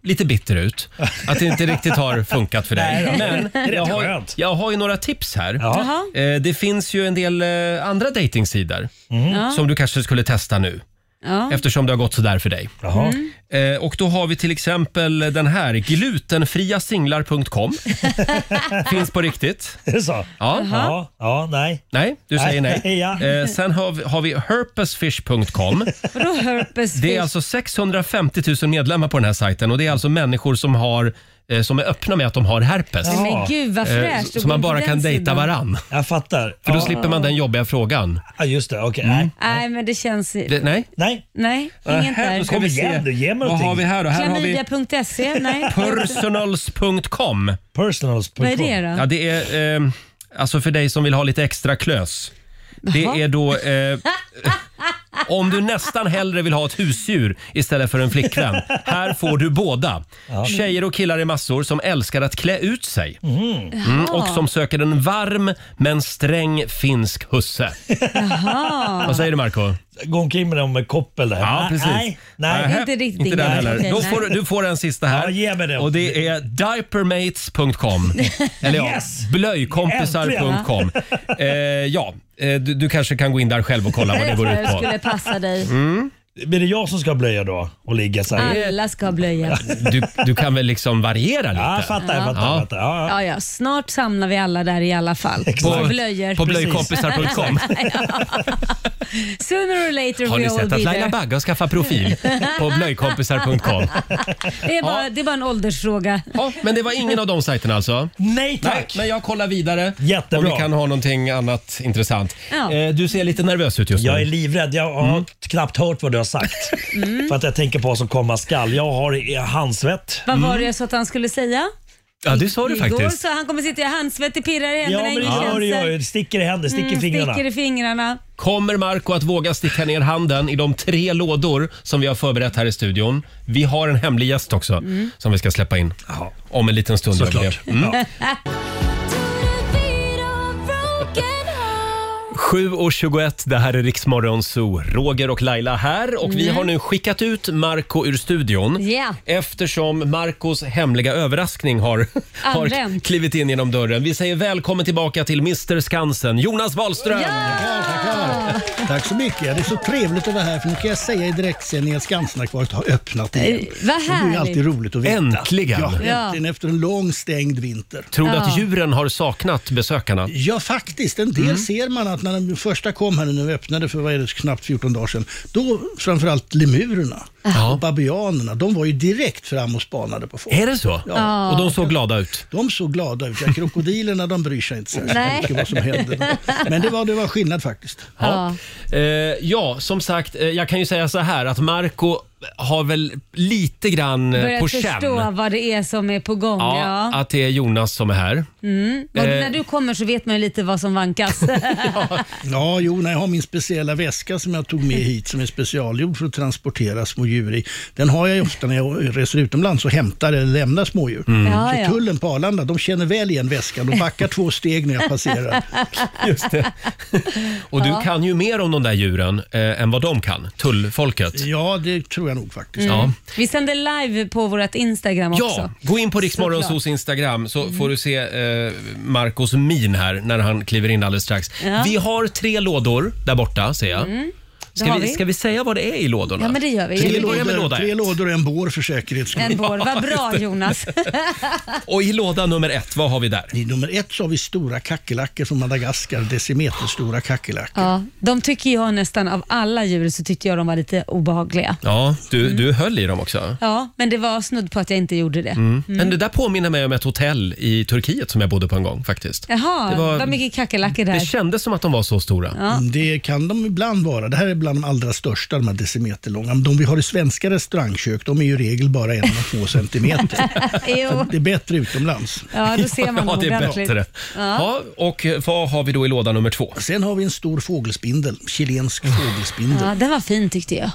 lite bitter ut. Att det inte riktigt har funkat för dig. Nej, då. Det Men är jag rätt har, skönt. jag har ju några tips här. Jaha. Eh, Det finns ju en del eh, andra dejtingsidor Mm. Ja. som du kanske skulle testa nu. Ja. Eftersom det har gått så där för dig. Mm. Eh, och då har vi till exempel den här, glutenfriasinglar.com. Finns på riktigt. Är det så? Ja. Ja, ja, nej. Nej, du säger nej. Nej, ja. eh, sen har vi, har vi herpesfish.com. Vadå herpes Det är fish? alltså 650 000 medlemmar på den här sajten och det är alltså människor som har eh, som är öppna med att de har herpes. Nej, men gud, vad fräscht att Eh, så gå man på bara den kan dejta sidan. varann. Jag fattar. För då Ja. slipper Mm. man den jobbiga frågan. Ja, just det. Okej. Nej, men det känns... Det, nej? Nej. Nej, Äh, inget där. då ska vi se. Vad har vi här då? Här har vi Klamydia.se? Nej. personals.com. Personals.com. Vad är det då? Ja, det är eh, alltså för dig som vill ha lite extra klös. Det Jaha. är då eh, om du nästan hellre vill ha ett husdjur istället för en flickvän. Här får du båda. Tjejer och killar i massor som älskar att klä ut sig. Mm, och som söker en varm men sträng finsk husse. Vad säger du Marco? Gå omkring med dem med koppel där. Ja, Nej, precis. Nej, nej. Nähä, Inte den heller. Då får, du- du får en sista här. Ja, ge mig den. Och det är diapermates.com. Eller ja, Yes! blöjkompisar.com. Eh, ja, eh, du, du kanske kan gå in där själv och kolla vad det går ut Jag på. skulle passa dig. Mm. Blir det jag som ska blöja då och ligga så här? Alla ska ha blöja. Du, du kan väl liksom variera lite? Ja, jag fattar, jag fattar, jag fattar. Ja, Ja, ja. Snart samlar vi alla där i alla fall. På- blöjor. på blöjkompisar.com. Ja. Sooner or later Har we ni all sett be att Laila there. Bagge har skaffat profil på blöjkompisar.com? Det är, bara, det är bara en åldersfråga. Ja, Men det var ingen av de sajterna alltså? Nej tack! men jag kollar vidare om vi kan ha någonting annat intressant. Ja. Eh, du ser lite nervös ut just nu. Jag är livrädd. Jag har knappt hört vad du har sagt. För att jag tänker på vad som komma skall. Jag har eh, handsvett. Vad var det jag sa att han skulle säga? Mm. Ja, det sa du Igår faktiskt. sa han kommer sitta i handsvettig, pirrar i Ja, händerna, men det ingen gör känsel. jag. ju. Sticker i händer, sticker i Mm, fingrarna. Sticker i fingrarna. Kommer Marco att våga sticka ner handen i de tre lådor som vi har förberett här i studion? Vi har en hemlig gäst också Mm. som vi ska släppa in om en liten stund. Såklart. Mm. Ja. 7.21, det här är Riksmorgon Zoo. Roger och Laila här och vi Mm. har nu skickat ut Marco ur studion. Ja. Eftersom Marcos hemliga överraskning har, har Använt. klivit in genom dörren. Vi säger välkommen tillbaka till Mr Skansen, Jonas Wahlström! Tack så mycket. Det är så trevligt att vara här för nu kan jag säga i direktsändning att Skansen-akvariet har öppnat igen. Eh, vad Och Det är ju alltid härligt. roligt att veta. Äntligen. Ja, Ja. äntligen efter en lång stängd vinter. Tror du att Ja. djuren har saknat besökarna? Ja, faktiskt. En del Mm. ser man att när den första kom här nu när vi öppnade för vad är det, knappt 14 dagar sedan, då framförallt lemurerna och babianerna, de var ju direkt fram och spanade på folk. Är det så? Ja. Och de såg glada ut? De såg glada ut. Ja, krokodilerna de bryr sig inte särskilt Nej. mycket vad som händer. Men det var, det var skillnad faktiskt. Ja. Eh, ja, som sagt, eh, jag kan ju säga så här att Marco har väl lite grann eh, Börjat på förstå känn vad det är som är på gång. ja, Ja. att det är Jonas som är här. Mm. Och Eh. Mm. När du kommer så vet man ju lite vad som vankas. Ja, jo, nej, jag har min speciella väska som jag tog med hit som är specialgjord för att transportera små djur i. Den har jag ju ofta när jag reser utomlands och hämtar eller lämnar smådjur. Mm. Ja, ja. Så tullen på Arlanda, de känner väl igen väskan. De backar två steg när jag passerar. Just det. Och du Ja. kan ju mer om de där djuren eh, än vad de kan, tullfolket. Ja, det tror jag nog faktiskt. Ja. Mm. Vi sänder live på vårt Instagram Ja, också. gå in på Såklart. Mm. Riksmorgonsos Instagram så får du se eh, Marcos min här när han kliver in alldeles strax. Ja. Vi har tre lådor där borta ser jag. Mm. Det Ska, har vi, vi. ska vi säga vad det är i lådorna? Ja, men det gör vi. Tre Vi lådor, börjar med låda Tre ett. lådor och en bår för säkerhets skull. En vår. Vad bra Jonas. Och i låda nummer ett, vad har vi där? I nummer ett så har vi stora kackerlackor från Madagaskar, decimeterstora kackerlackor. Ja, de tycker jag nästan av alla djur så tyckte jag de var lite obehagliga. Ja, du, Mm. du höll i dem också. Ja, men det var snudd på att jag inte gjorde det. Mm. Men Mm. det där påminner mig om ett hotell i Turkiet som jag bodde på en gång faktiskt. Jaha, det det var- var, mycket kackerlackor där. Det kändes som att de var så stora. Ja. Mm, Det kan de ibland vara. Det här är bland de allra största, de här decimeterlånga. Men De vi har i svenska restaurangkök, de är ju i regel bara en eller två centimeter. Så jo. det är bättre utomlands. Ja, då ser man ja, dem det är ordentligt. bättre. Ja. Ja. och vad har vi då i låda nummer två? Sen har vi en stor fågelspindel, chilensk fågelspindel. Ja, den var fin tyckte jag.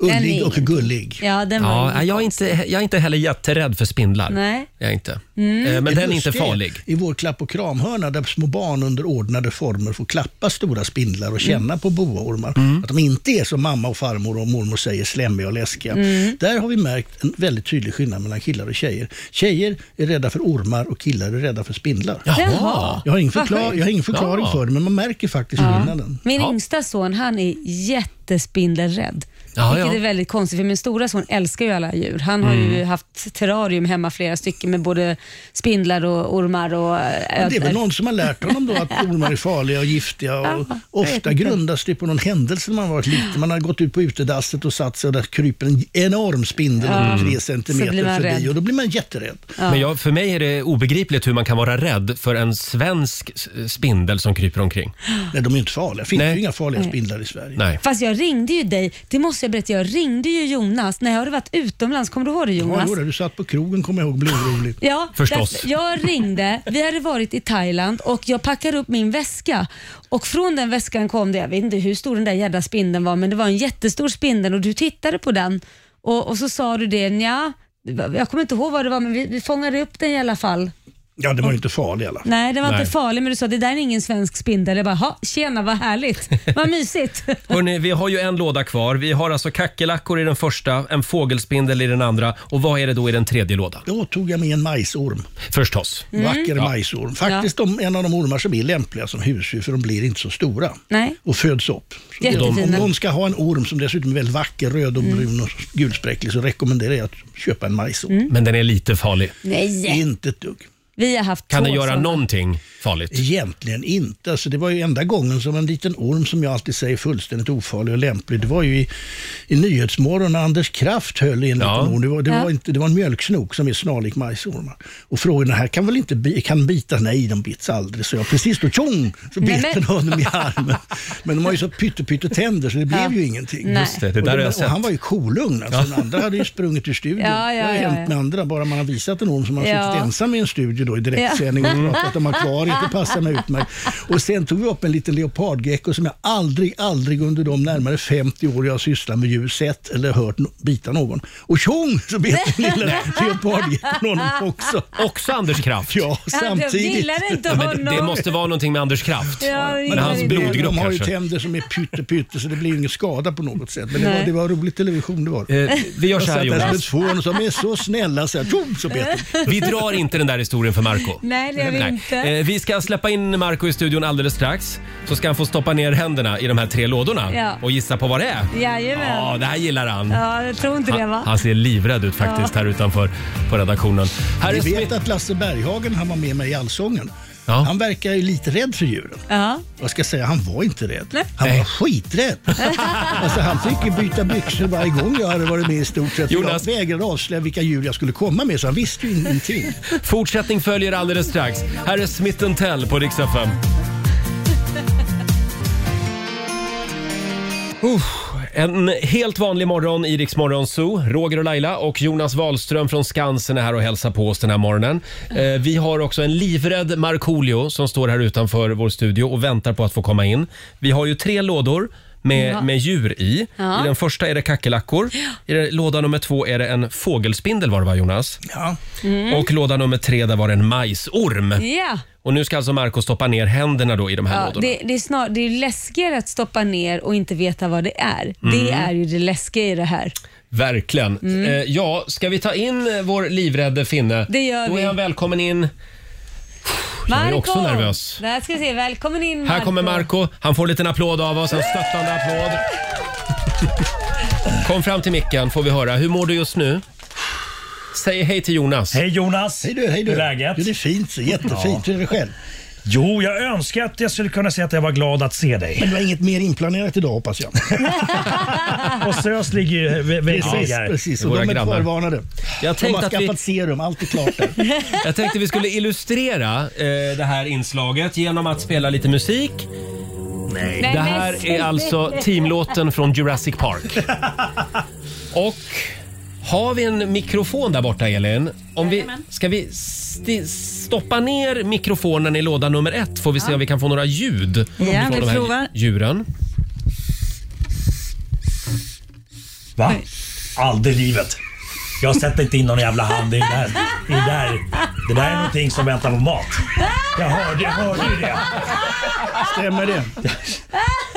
Den Ullig är- och gullig. Ja, den var Ja, jag, är inte, jag är inte heller jätterädd för spindlar. Nej. Mm. Jag är inte. Eh, Men Det den är inte lustiga farlig. I vår klapp och kramhörna där små barn under ordnade former får klappa stora spindlar och känna Mm. på boaormar. Att de inte är som mamma och farmor och mormor säger, slemmiga och läskiga. Mm. Där har vi märkt en väldigt tydlig skillnad mellan killar och tjejer. Tjejer är rädda för ormar och killar är rädda för spindlar. Jaha. Jag har ingen, Vad förklar- jag har ingen förklaring Ja. för det, men man märker faktiskt skillnaden. Min yngsta son han är jättespindelrädd. Ja, vilket ja. är väldigt konstigt för min stora son älskar ju alla djur. Han har ju Mm. haft terrarium hemma flera stycken med både spindlar och ormar och Men det är väl ödlor. någon som har lärt honom då att ormar är farliga och giftiga. Och ofta inte. grundas det på någon händelse när man varit liten. Man har gått ut på utedasset och satt sig och där kryper en enorm spindel Ja. mm. tre Mm. centimeter Så blir man förbi rädd. och då blir man jätterädd. Men jag, för mig är det obegripligt hur man kan vara rädd för en svensk s- spindel som kryper omkring. Nej, de är inte farliga. Finns Nej. ju inga farliga Nej. spindlar i Sverige. Nej. Fast jag ringde ju dig, det måste jag berätta, jag ringde ju Jonas när jag hade varit utomlands. Kommer du ihåg det Ja, Jonas? jo, du satt på krogen kommer jag ihåg, blev orolig. Ja, Förstås. därför- Jag ringde, vi hade varit i Thailand och jag packade upp min väska och från den väskan kom det, jag vet inte hur stor den där jädra spindeln var, men det var en jättestor spindel och du tittade på den och, och så sa du det, ja, jag kommer inte ihåg vad det var men vi, vi fångade upp den i alla fall. Ja, den var ju inte farlig i alla fall. Nej, den var inte farlig men du sa det där är ingen svensk spindel. Jag bara, "Ha, tjena vad härligt, vad mysigt. Hörrni, vi har ju en låda kvar. Vi har alltså kackerlackor i den första, en fågelspindel i den andra och vad är det då i den tredje lådan? Då tog jag med en majsorm. Förstås. Vacker Mm. Ja. majsorm. Faktiskt de, en av de ormar som är lämpliga som husdjur för de blir inte så stora. Nej. och föds upp. Så Jättefina. Om någon ska ha en orm som dessutom är väldigt vacker, röd och Mm. brun och gulspräcklig så rekommenderar jag att köpa en majsorm. Mm. Men den är lite farlig. Nej. Inte ett dugg. Vi har haft Kan två den göra sådana. någonting farligt? Egentligen inte. Alltså, det var ju enda gången som en liten orm, som jag alltid säger, fullständigt ofarlig och lämplig. Det var ju i, i Nyhetsmorgon när Anders Kraft höll i en liten orm. Det var, det, Ja. var inte, det var en mjölksnok som är snarlik majsormar. Och frågan, den här kan väl inte bi, kan bita? Nej, de bits aldrig. Så jag precis då, tjong, så Nej, bet men- den honom i armen. Men de har ju så pytte tänder så det blev Ja. ju ingenting. Nej. Just det, det Och där har jag Och sett. han var ju kolugn. Alltså, Den andra hade ju sprungit ur studion. Ja, ja, det har ju ja, hänt ja. med andra, bara man har visat en orm som har Ja. suttit ensam i en studio då, i direktsändning Ja. och pratat om akvariet. Det passar mig utmärkt. Och sen tog vi upp en liten leopardgecko som jag aldrig, aldrig under de närmare 50 år jag har sysslat med djur sett eller hört no- bita någon. Och tjong så bet den lilla leopardgeckon honom också. Också Anders Kraft? Ja, Ja, de samtidigt. gillar inte honom. Men det måste vara någonting med Anders Kraft. Ja, det med gör hans det. blodgrupp De har ju kanske. tänder som är pytte pytte så det blir ingen skada på något sätt. Men det Nej. var, det var rolig television det var. Eh, vi gör så här, Jag satt där som ett Jonas. fån och sa, de är så snälla så jag tjong så bet den. Vi drar inte den där historien för Marco. Nej, det gör vi inte. Eh, Vi ska släppa in Marco i studion alldeles strax. Så ska han få stoppa ner händerna i de här tre lådorna Ja. och gissa på vad det är. Jajamän. Ja, det här gillar han. Ja, jag tror inte det va? Han, han ser livrädd ut faktiskt Ja. här utanför på redaktionen. Här är Ni Smith. vet att Lasse Berghagen, han var med mig i Allsången. Han verkar ju lite rädd för djuren. Ja. Jag ska säga, han var inte rädd. Han var skiträdd. alltså, han fick ju byta byxor varje gång jag hade varit med i stort sett. Jonas. Jag vägrade avslöja vilka djur jag skulle komma med, så han visste ju ingenting. Fortsättning följer alldeles strax. Här är Smith Tell på Rix FM. Uff, En helt vanlig morgon i Rix Morgon Zoo. Roger och Laila och Jonas Wahlström från Skansen är här och hälsar på oss den här morgonen. Eh, vi har också en livrädd Markoolio som står här utanför vår studio och väntar på att få komma in. Vi har ju tre lådor med, Ja. med djur i. Ja. I den första är det kackerlackor. I den- låda nummer två är det en fågelspindel var det va Jonas? Ja. Mm. Och låda nummer tre, där var det en majsorm. Ja. Och nu ska alltså Marco stoppa ner händerna då i de här Ja, lådorna. det, det, är snar, det är ju läskigare att stoppa ner och inte veta vad det är. Det Mm. är ju det läskiga i det här. Verkligen. Mm. Eh, ja, ska vi ta in eh, vår livrädde finne? Det gör då är vi. han välkommen in. Jag är också nervös. Där ska vi se. Välkommen in Marco. Här kommer Marco. Han får en liten applåd av oss. En stöttande applåd. Kom fram till micken får vi höra. Hur mår du just nu? Säg hej till Jonas. Hej Jonas! Hej du, hej du. Hur är läget? Jo, det är fint, så jättefint. Ja. Hur är det själv? Jo, jag önskar att jag skulle kunna säga att jag var glad att se dig. Men du har inget mer inplanerat idag hoppas jag. Och SÖS ligger ju vä- vägg i vägg precis, här. precis. Och de är kvarvarnade. Jag de har tänkte, att skaffat vi, serum, allt är klart där. jag tänkte vi skulle illustrera eh, det här inslaget genom att spela lite musik. Nej. Det här är alltså teamlåten från Jurassic Park. Och har vi en mikrofon där borta, Elin? Om vi, ska vi sti- stoppa ner mikrofonen i låda nummer ett? Får vi se om vi kan få några ljud Ja, från vi de här provar. djuren. Va? Aldrig i livet. Jag sätter inte in någon jävla hand i det där. I det, där. det där är någonting som väntar på mat. Jag hörde, jag hörde ju det. Stämmer det?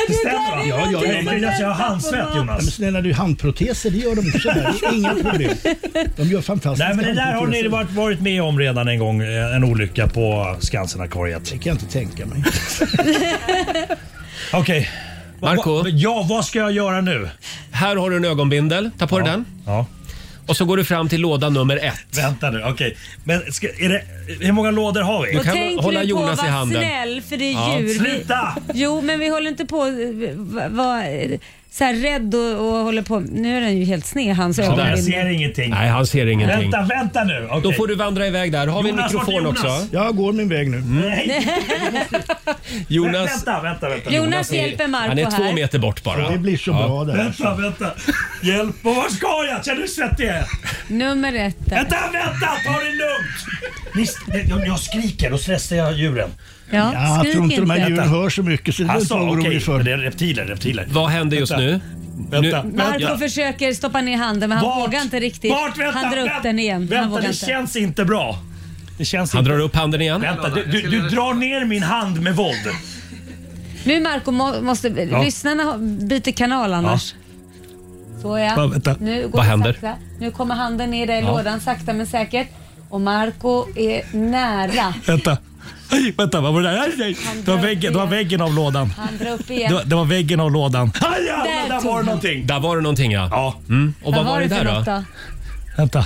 Det stämmer va? Ja, ja, ja, men, alltså, jag har handsvett Men Jonas. snälla du, handproteser det gör de också här. Det är Inga problem. De gör fantastiska Nej men det där har ni handproteser. varit, varit med om redan en gång, eh, en olycka på Skansenakvariet. Det kan jag inte tänka mig. Okej. Marco? Ja, vad ska jag göra nu? Här har du en ögonbindel. Ta på dig den. Ja. Och så går du fram till låda nummer ett. Vänta nu, okej. Men ska, är det, hur många lådor har vi? Du kan hålla Jonas i handen. snäll för det är Ja. djur. Sluta! Vi, jo men vi håller inte på att vara så här rädd och, och håller på. Nu är den ju helt sned hans Ja, men jag ögonbindel. ser ingenting. Nej, han ser ingenting. Vänta, vänta nu. Okej. Då får du vandra iväg där. Har vi en Jonas, vart är mikrofon Jonas? också? Jag går min väg nu. Mm. Jonas, Vänta, vänta, vänta. Jonas hjälper Marco han är två här. meter bort bara. Det blir så Ja. bra där. alltså. Vänta, vänta. Hjälp. Och var ska jag? Känner du hur svettig jag är? Nummer ett där. Vänta, vänta! Ta det lugnt! Ni, jag, jag skriker, då stressar jag djuren. Ja, Ja, jag skrik tror inte de här inte. djuren hör så mycket så det behöver du inte Alltså, vara okej. orolig för. Det är reptiler, reptiler. Vad händer just Vänta. nu? Vänta. Nu- Marco Ja. försöker stoppa ner handen men han vågar inte riktigt. Bort, vänta, han drar upp vänta, den igen. Vänta, han vågar det inte. känns inte bra. Det känns Han inte. drar upp handen igen. Vänta, du, du, du drar ner min hand med våld. Nu Marco må, måste... Ja. Lyssnarna har- byter kanal annars. Så ja. Va, vänta. Nu går Vad det händer? Sakta. Nu kommer handen ner där i Ja. lådan sakta men säkert. Och Marco är nära. Vänta. Aj, vänta, vad var det där? Aj, aj. Det var väggen, det var väggen av lådan. Han drar upp Det igen. var, det var väggen av lådan. Aj, Ah, ja, Där där tog var det han. någonting. Där var det någonting ja. Ja. Mm. Och vad var det för där något då? då? Vänta.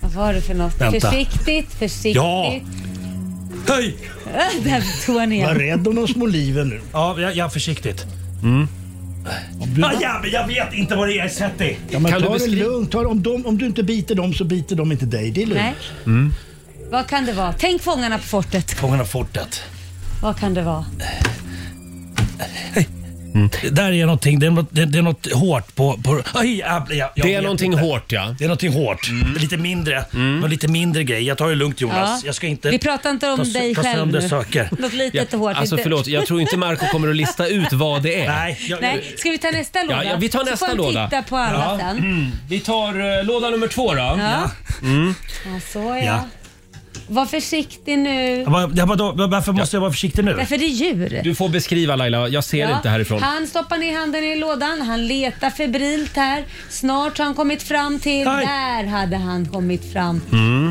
Vad var det för något? Vänta. Försiktigt, försiktigt. Ja. Hej! där tog han Var igen. rädd om de små liven nu. Ja, jag, jag försiktigt. Du, Mm. Ah, ja, men jag vet inte vad det är jag är svettig. ja, men kan du ta det beskri- lugnt. Ta, det- om, de, om du inte biter dem så biter de inte dig. Det är lugnt. Nej. Vad kan det vara? Tänk Fångarna på fortet. Fångarna på fortet. Vad kan det vara? Det där är någonting, det är något, det, det är något hårt på... på aj, jag, jag, jag Det är vet någonting inte. hårt ja. Det är någonting hårt. Lite mindre. Mm. Lite mindre grej. Jag tar det lugnt Jonas. Ja. Jag ska inte... Vi pratar inte om ta, sö- dig ta själv sönder nu. saker. Något Ja, litet och hårt. alltså Inte- förlåt, jag tror inte Marco kommer att lista ut vad det är. Nej, jag, Nej, ska vi ta nästa låda? Ja, ja, vi tar nästa så får låda. vi titta på alla Ja. Mm. sen. Vi tar eh, låda nummer två då. Mm. Ja. Ja, så ja. Mm. Ja. Var försiktig nu. jag, bara- jag, bara- då- varför måste jag vara försiktig nu? Därför det är djur. Du får beskriva Laila, jag ser Ja. inte härifrån. Han stoppar ner handen i lådan, han letar febrilt här. Snart har han kommit fram till... Aj. Mm. Där hade han kommit fram.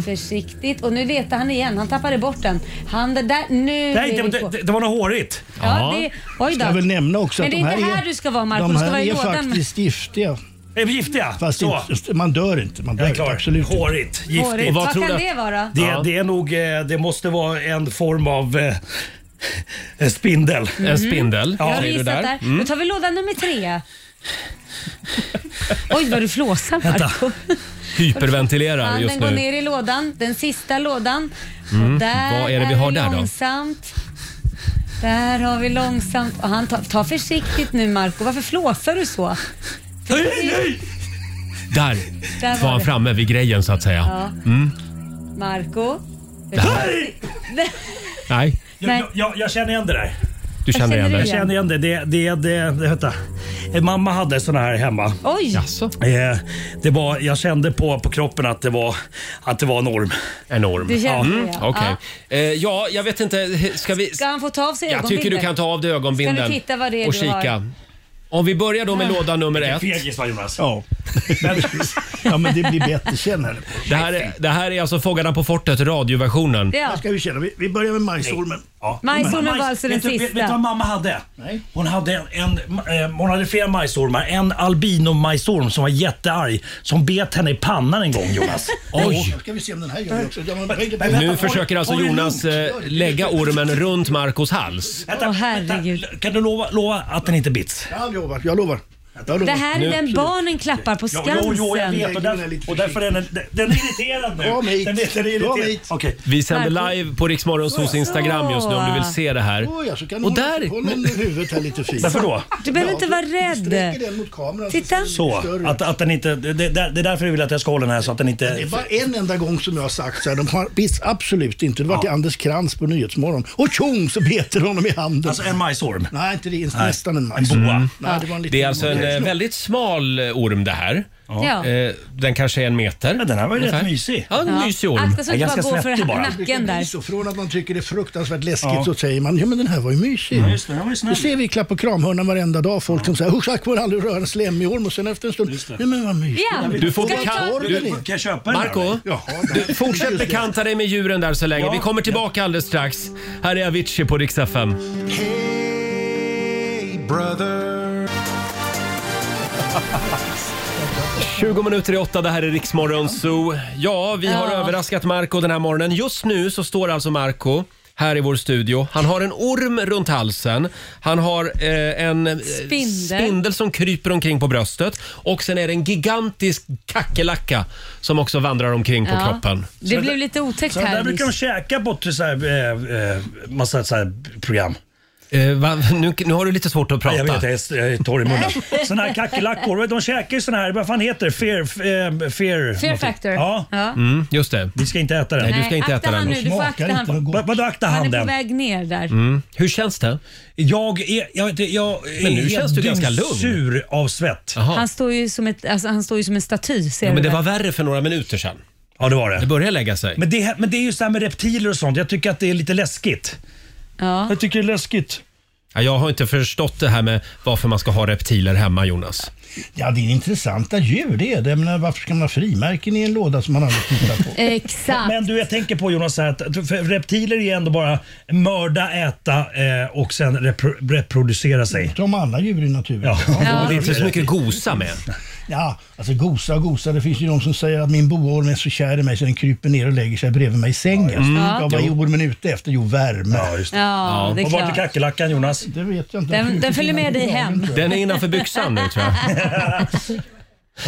Försiktigt. Och nu letar han igen, han tappade bort den. Handen där, nu Nej, är det, vi på. det, det, det var något hårigt. Ja, det, oj Jag vill då. nämna också Men att det de är här inte här är, du ska vara, Marco. de Du ska vara här i är lådan. faktiskt giftiga. Är vi giftiga? Fast Så. inte, man dör inte. Man dör Jag är inte, klar. absolut inte. Hårigt. Giftigt. Hårigt. vad Vad tror kan du- det vara? Det, Ja. det är nog, eh, det måste vara en form av eh, en spindel. Mm. En spindel. Jag har säger du Mm. gissat där. Då tar vi låda nummer tre. Oj, vad du flåsar Marco. Hyperventilerar Handen just går nu. ner i lådan, den sista lådan. Och där Vad är det vi har där då? långsamt. Där har vi långsamt. Och han tar, ta försiktigt nu Marco. varför flåsar du så? Där Där var var han det. framme vid grejen så att säga. Ja. Marco Nej, Jag, Nej. jag, jag, jag känner igen det där. du känner känner igen Jag det. igen. känner igen det. Det, det, det, det vänta. Eh, Mamma hade såna här hemma. Oj! Jaså? Eh, det var, jag kände på, på kroppen att det, var, att det var en orm. Enorm. Du känner Mm, det, ja. Okej. Eh, Ja, jag vet inte. Ska vi... Ska han få ta av sig Jag tycker du kan ta av dig ögonbindeln Ska vi titta vad det är och du kika. har? Om vi börjar då med låda nummer ett. Fegis var Jonas. Ja. ja, men det blir bättre. Känn här nu. Det här, är, det här är alltså Fångarna på fortet, radioversionen. Ja. Här ska vi känna. Vi, vi börjar med majsholmen. Ja. Majsormen var Majs- alltså den vet du- Vet, vet du vad sista. mamma hade? Nej. Hon hade, en, eh, hon hade flera majsormar. En albinomajsorm som var jättearg som bet henne i pannan en gång Jonas. Oj! Nu ska vi se om den här gör det också. Ja, men, men- Nu Håll- försöker alltså håll det Jonas eh, lägga ormen runt Marcos hals. Vänta, Åh, herregud. vänta. Kan du lova, lova att den inte bits? jag lovar. Jag lovar. Jag lovar. Det här är den barnen klappar på Ja, jo, jo, jag Skansen. vet. Och, där, och därför är den, den är irriterad nu. Kom hit. Den är, den är Kom irriterad. hit. Okej. Vi sänder Marco. live på Riksmorgonsos Instagram just nu om du vill se det här. Oj, ja, så kan Och och där- där... Håll om huvudet här lite fint. Varför då? Du behöver inte vara Du rädd. sträcker den mot kameran. Titta. Så. Större. Att, att den inte, det, det, det är därför jag vill att jag ska hålla den här så att den inte... Det är bara en enda gång som jag har sagt så här, de har bits absolut inte. Det var till Anders Krantz på Nyhetsmorgon. Och tjong så beter honom i handen. Alltså en majsorm. Nej, inte det. Ens Nej. Nästan en En majs. boa. Nej, det var en liten Det är alltså en, eh, Eh, väldigt smal eh, orm det här. Ja. Eh, den kanske är en meter. den här var ju rätt mysig. Ja, en Ja. mysig orm. Akta så du inte bara går för nacken där. Så från att man tycker det är fruktansvärt läskigt Ja. så säger man ja men den här var ju mysig. Ja, just det, den var ju snäll. det ser vi i klapp och kramhörnan varenda dag. Folk som säger usch tack vare aldrig röra en slemmig orm och sen efter en stund, nej men vad mysigt. Ja. Du får Ska jag ta bekanta ormen i? dig. Marco, du fortsätt bekanta dig med djuren där så länge. Vi kommer tillbaka alldeles strax. Här är Avicii på Rix FM. Brother. 20 minuter i åtta, det här är Riksmorgon Zoo. Ja, vi har Ja. överraskat Marco den här morgonen. Just nu så står alltså Marco här i vår studio. Han har en orm runt halsen. Han har eh, en eh, Spindel. spindel som kryper omkring på bröstet. Och sen är det en gigantisk kackerlacka som också vandrar omkring på Ja. kroppen. Det blev lite otäckt Så det där här brukar de nyss. käka bort till så här, eh, eh, massa så här program. Eh, nu, har du lite svårt att prata. Jag vet, jag är, jag är torr i munnen. Såna här kackerlackor, de käkar ju såna här, vad fan heter det? Fear, f- eh, fear, Fear factor. Ja. Ja. Mm, just det. Vi ska inte äta den. Nej, du ska Nej, inte akta äta den den. nu. Du får Smakar akta inte han. den. Vad- Vadå akta Han handen? är på väg ner där. Hur känns det? Jag är, jag, är inte- jag är Men nu helt känns du ganska lugn. sur av svett. Han, står ju som ett, alltså, han står ju som en staty. Ser Ja, du men det väl? var värre för några minuter sedan. Ja, det var det. Det börjar lägga sig. Men det, men det är ju så här med reptiler och sånt. Jag tycker att det är lite läskigt. Ja. Jag tycker det är läskigt. Ja, jag har inte förstått det här med varför man ska ha reptiler hemma, Jonas. Ja, det är intressanta djur det är det. Men varför ska man ha frimärken i en låda som man aldrig tittar på? Exakt. Men du, jag tänker på Jonas så här att för reptiler är ju ändå bara mörda, äta eh, och sen repro- reproducera sig. Som alla djur i naturen. Ja. Ja. Det är inte så mycket gosa med. Ja, alltså gosa och gosa. Det finns ju de som säger att min boorm är så kär i mig så den kryper ner och lägger sig bredvid mig i sängen. Mm. Ja, Vad är Jo. ormen ute efter? Jo, värme. Ja, just det. Ja, Ja. det är Och vart är klart. kackerlackan Jonas? Det vet jag inte. Den, den följer med dig hem. Den är innanför byxan nu tror jag.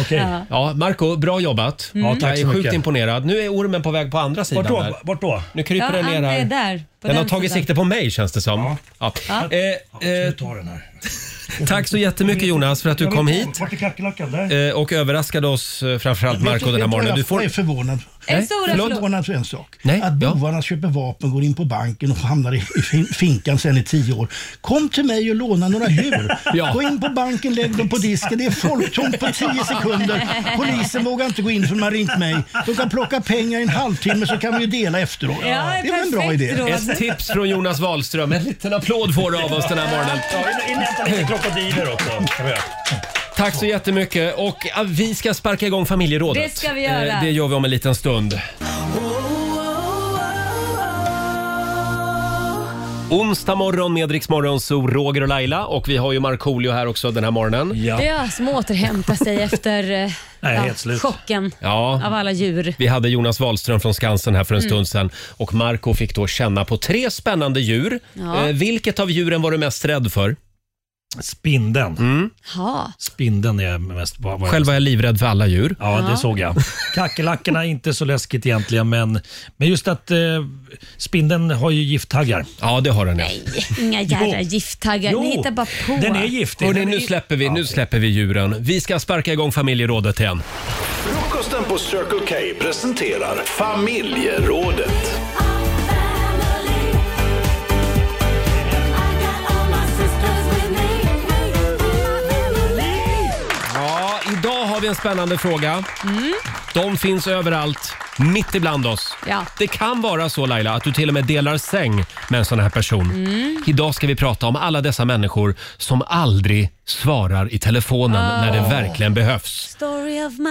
Okej. Ja. Ja, Marco, bra jobbat. Mm. Ja, tack jag så är sjukt mycket. imponerad. Nu är ormen på väg på andra sidan. Vart då? där. Vart då? Nu kryper Ja, den ner han här. är där, på den den har tagit sidan. sikte på mig känns det som. Ja. Ja. Eh, eh, Tack så jättemycket Jonas för att du Jag vet kom inte. hit Vart är kackerlackan? Där? eh, och överraskade oss, eh, framförallt Marco den här morgonen. Du Jag är får... förvånad. En Nej, stor jag är förlåt. förvånad för en sak. Nej, att bovarna köper vapen, går in på banken och hamnar i i fin- finkan sen i tio år. Kom till mig och låna några djur. Ja. Gå in på banken, lägg dem på disken. Det är folktomt på tio sekunder. Polisen vågar inte gå in för de har ringt mig. De kan plocka pengar i en halvtimme så kan vi ju dela efteråt. Ja, det är väl en bra perfekt idé. Ett tips från Jonas Wahlström. En liten applåd får du av oss den här morgonen. Ja, in- inäta lite krokodiler också. Kan vi göra. Tack så jättemycket. Och ja, vi ska sparka igång familjerådet. Det ska vi göra. Eh, Det gör vi om en liten stund. Onsdag morgon med Rix Morgon, så Roger och Laila och vi har ju Markoolio här också den här morgonen. Ja. Det är jag som återhämtar sig efter eh, Nej, ja, helt slut. chocken av alla djur. Vi hade Jonas Wahlström från Skansen här för en Mm. stund sedan och Marco fick då känna på tre spännande djur. Ja. Eh, vilket av djuren var du mest rädd för? Spindeln. Mm. Ja. Spindeln är mest... Vad, vad Själv var jag livrädd för alla djur. Ja, Ja. det såg jag. Kackerlackorna är inte så läskigt egentligen, men, men just att eh, spindeln har ju gifttaggar. Ja, det har den. Nej, inga jävla gifttaggar. Ni hittar bara på. Hörrni, nu släpper vi, nu släpper vi djuren. Vi ska sparka igång familjerådet igen. Frukosten på Circle K presenterar familjerådet. Ja, idag har vi en spännande fråga. De finns överallt, mitt ibland oss. Ja. Det kan vara så Laila att du till och med delar säng med en sån här person. Mm. Idag ska vi prata om alla dessa människor som aldrig svarar i telefonen Ah. när det verkligen behövs. Story of my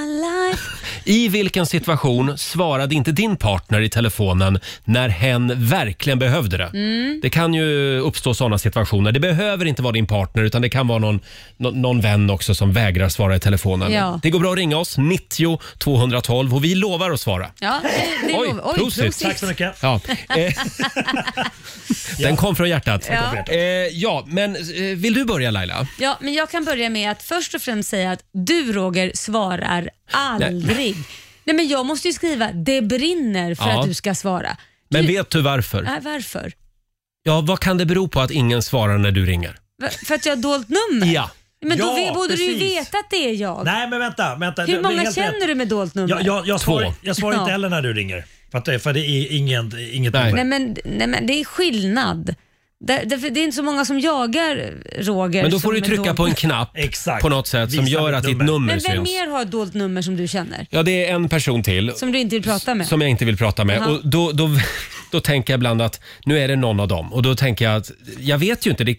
life. I vilken situation svarade inte din partner i telefonen när hen verkligen behövde det? Mm. Det kan ju uppstå sådana situationer. Det behöver inte vara din partner utan det kan vara någon, någon, någon vän också som vägrar svara i telefonen. Ja. Det går bra att ringa oss, 90 212 och vi lovar att svara. Ja, det, det Oj, lov- Oj, prosit. Tack så mycket. Ja, eh, den kom från hjärtat. Den kom från hjärtat. Eh, ja men eh, vill du börja Laila? Ja, men jag kan börja med att först och främst säga att du Roger svarar aldrig. Nej, men jag måste ju skriva det brinner för Ja. att du ska svara. Men vet du varför? Nej, varför? Ja, vad kan det bero på att ingen svarar när du ringer? Va- För att jag har dolt nummer? Ja. Men då Ja, vet- borde du ju precis. veta att det är jag. Nej, men vänta. vänta Hur Det- det är många helt känner rätt. du med dolt nummer? Jag, jag, jag svarar, Två. jag svarar inte Ja. heller när du ringer. För, att, det- för det är ingen, inget Nej men, nej men det är skillnad. Där, därför det är inte så många som jagar Roger. Men då som får du är trycka dold. på en knapp på något sätt som Visa gör mitt att ditt nummer. nummer Men vem syns. mer har ett dolt nummer som du känner? Ja, det är en person till Som du inte vill prata med? som jag inte vill prata med. Aha. Och då, då, då tänker jag ibland att nu är det någon av dem och då tänker jag att jag vet ju inte. Det,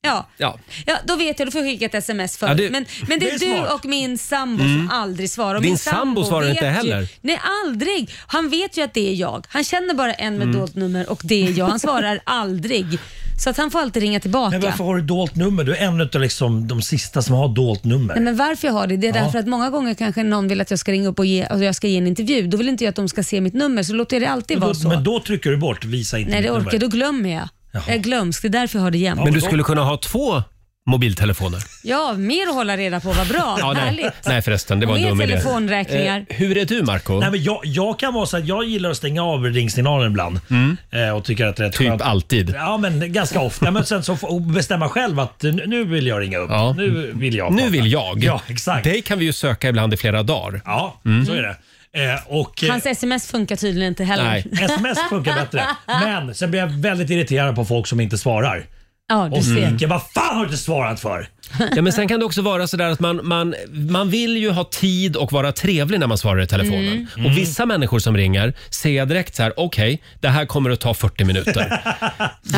Ja. ja. ja, då vet jag. Då får jag skicka ett sms för. Ja, det- men, men det det är, är du smart. och min sambo Mm. som aldrig svarar. Och Din min sambo svarar inte vet heller. Ju, nej, aldrig. Han vet ju att det är jag. Han känner bara en med Mm. dolt nummer och det är jag. Han svarar aldrig. Så att han får alltid ringa tillbaka. Men varför har du dolt nummer? Du är en av liksom de sista som har dolt nummer. Nej, men varför jag har det, det är Ja. därför att många gånger kanske någon vill att jag ska ringa upp och, ge, och jag ska ge en intervju. Då vill inte jag att de ska se mitt nummer, så låter jag det alltid men, vara då, så. men då trycker du bort visa inte Nej, det mitt orkar nummer. Då glömmer jag. Jag är glömsk, det är därför jag har det jämt. Men du skulle kunna ha två mobiltelefoner. Ja, mer att hålla reda på, vad bra. Ja, nej. Härligt. nej förresten, det var en Mer dum idé. telefonräkningar. Eh, hur är du Marco? Nej, men jag, jag kan vara så att jag gillar att stänga av ringsignalen ibland. Mm. Eh, och tycker att det är typ alltid? Ja, men ganska ofta. men sen så får och bestämma själv att eh, nu vill jag ringa upp. Ja. Nu vill jag. Nu vill jag. Ja, exakt. Det Mm. kan vi ju söka ibland i flera dagar. Ja, så är det. Eh, och, eh, Hans sms funkar tydligen inte heller. Nej, sms funkar bättre. Men sen blir jag väldigt irriterad på folk som inte svarar. Ja, du och ser. skriker vad fan har du inte svarat för? Ja, men sen kan det också vara sådär att man, man, man vill ju ha tid och vara trevlig när man svarar i telefonen. Mm. Mm. Och vissa människor som ringer ser jag direkt så här: okej, det här kommer att ta 40 minuter.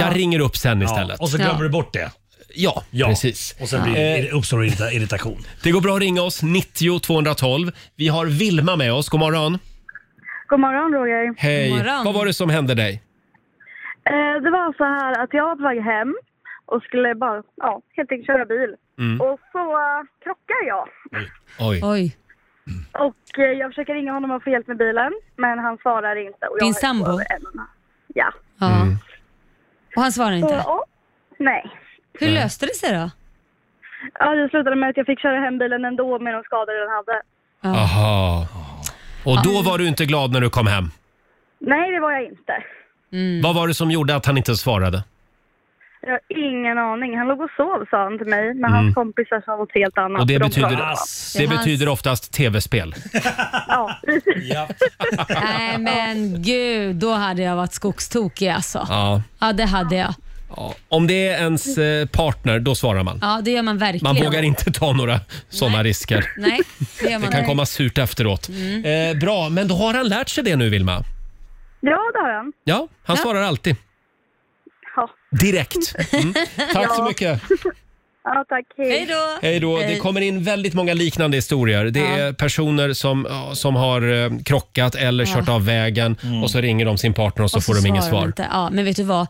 Jag ringer upp sen istället. och så glömmer du bort det. Ja, precis. Och sen blir, Eh, det uppstår irrita- irritation. det går bra att ringa oss, 90 212. Vi har Vilma med oss, god morgon. God morgon Roger. Hej. Vad var det som hände dig? Eh, det var så här att jag var på väg hem och skulle bara, ja, helt enkelt köra bil. Mm. Och så eh, krockar jag. Oj. Oj. Och eh, jag försöker ringa honom och få hjälp med bilen, men han svarar inte. Och jag Din är sambo? över en och en halv. Ja. Ja. Mm. Och han svarar inte? Så, ja. nej. Hur löste det sig då? Ja, det slutade med att jag fick köra hem bilen ändå med de skador den hade. Aha. Och då var du inte glad när du kom hem. Nej, det var jag inte. Vad var det som gjorde att han inte svarade? Jag har ingen aning. Han låg och sov sa han till mig, men hans kompisar sa något helt annat. Mm. Och det för de betyder, pratade. det betyder oftast tv-spel. Ja, precis. Nej men gud, då hade jag varit skogstokig alltså. Ja. Ja, det hade jag. Ja. Om det är ens eh, partner, då svarar man. Ja, det gör man verkligen. Man vågar inte ta några sådana risker. Nej, det gör Det man kan inte. komma surt efteråt. Mm. Eh, bra, men då har han lärt sig det nu, Vilma. Ja, det har han. Ja, han Ja. svarar alltid. Ja. Direkt. Mm. Tack så Ja. mycket. Ja, tack. Hej då. Hej då. Det kommer in väldigt många liknande historier. Det är personer som, ja, som har eh, krockat eller Ja. kört av vägen och så ringer de sin partner och så, får de inget svarar svar. inte. Ja, men vet du vad?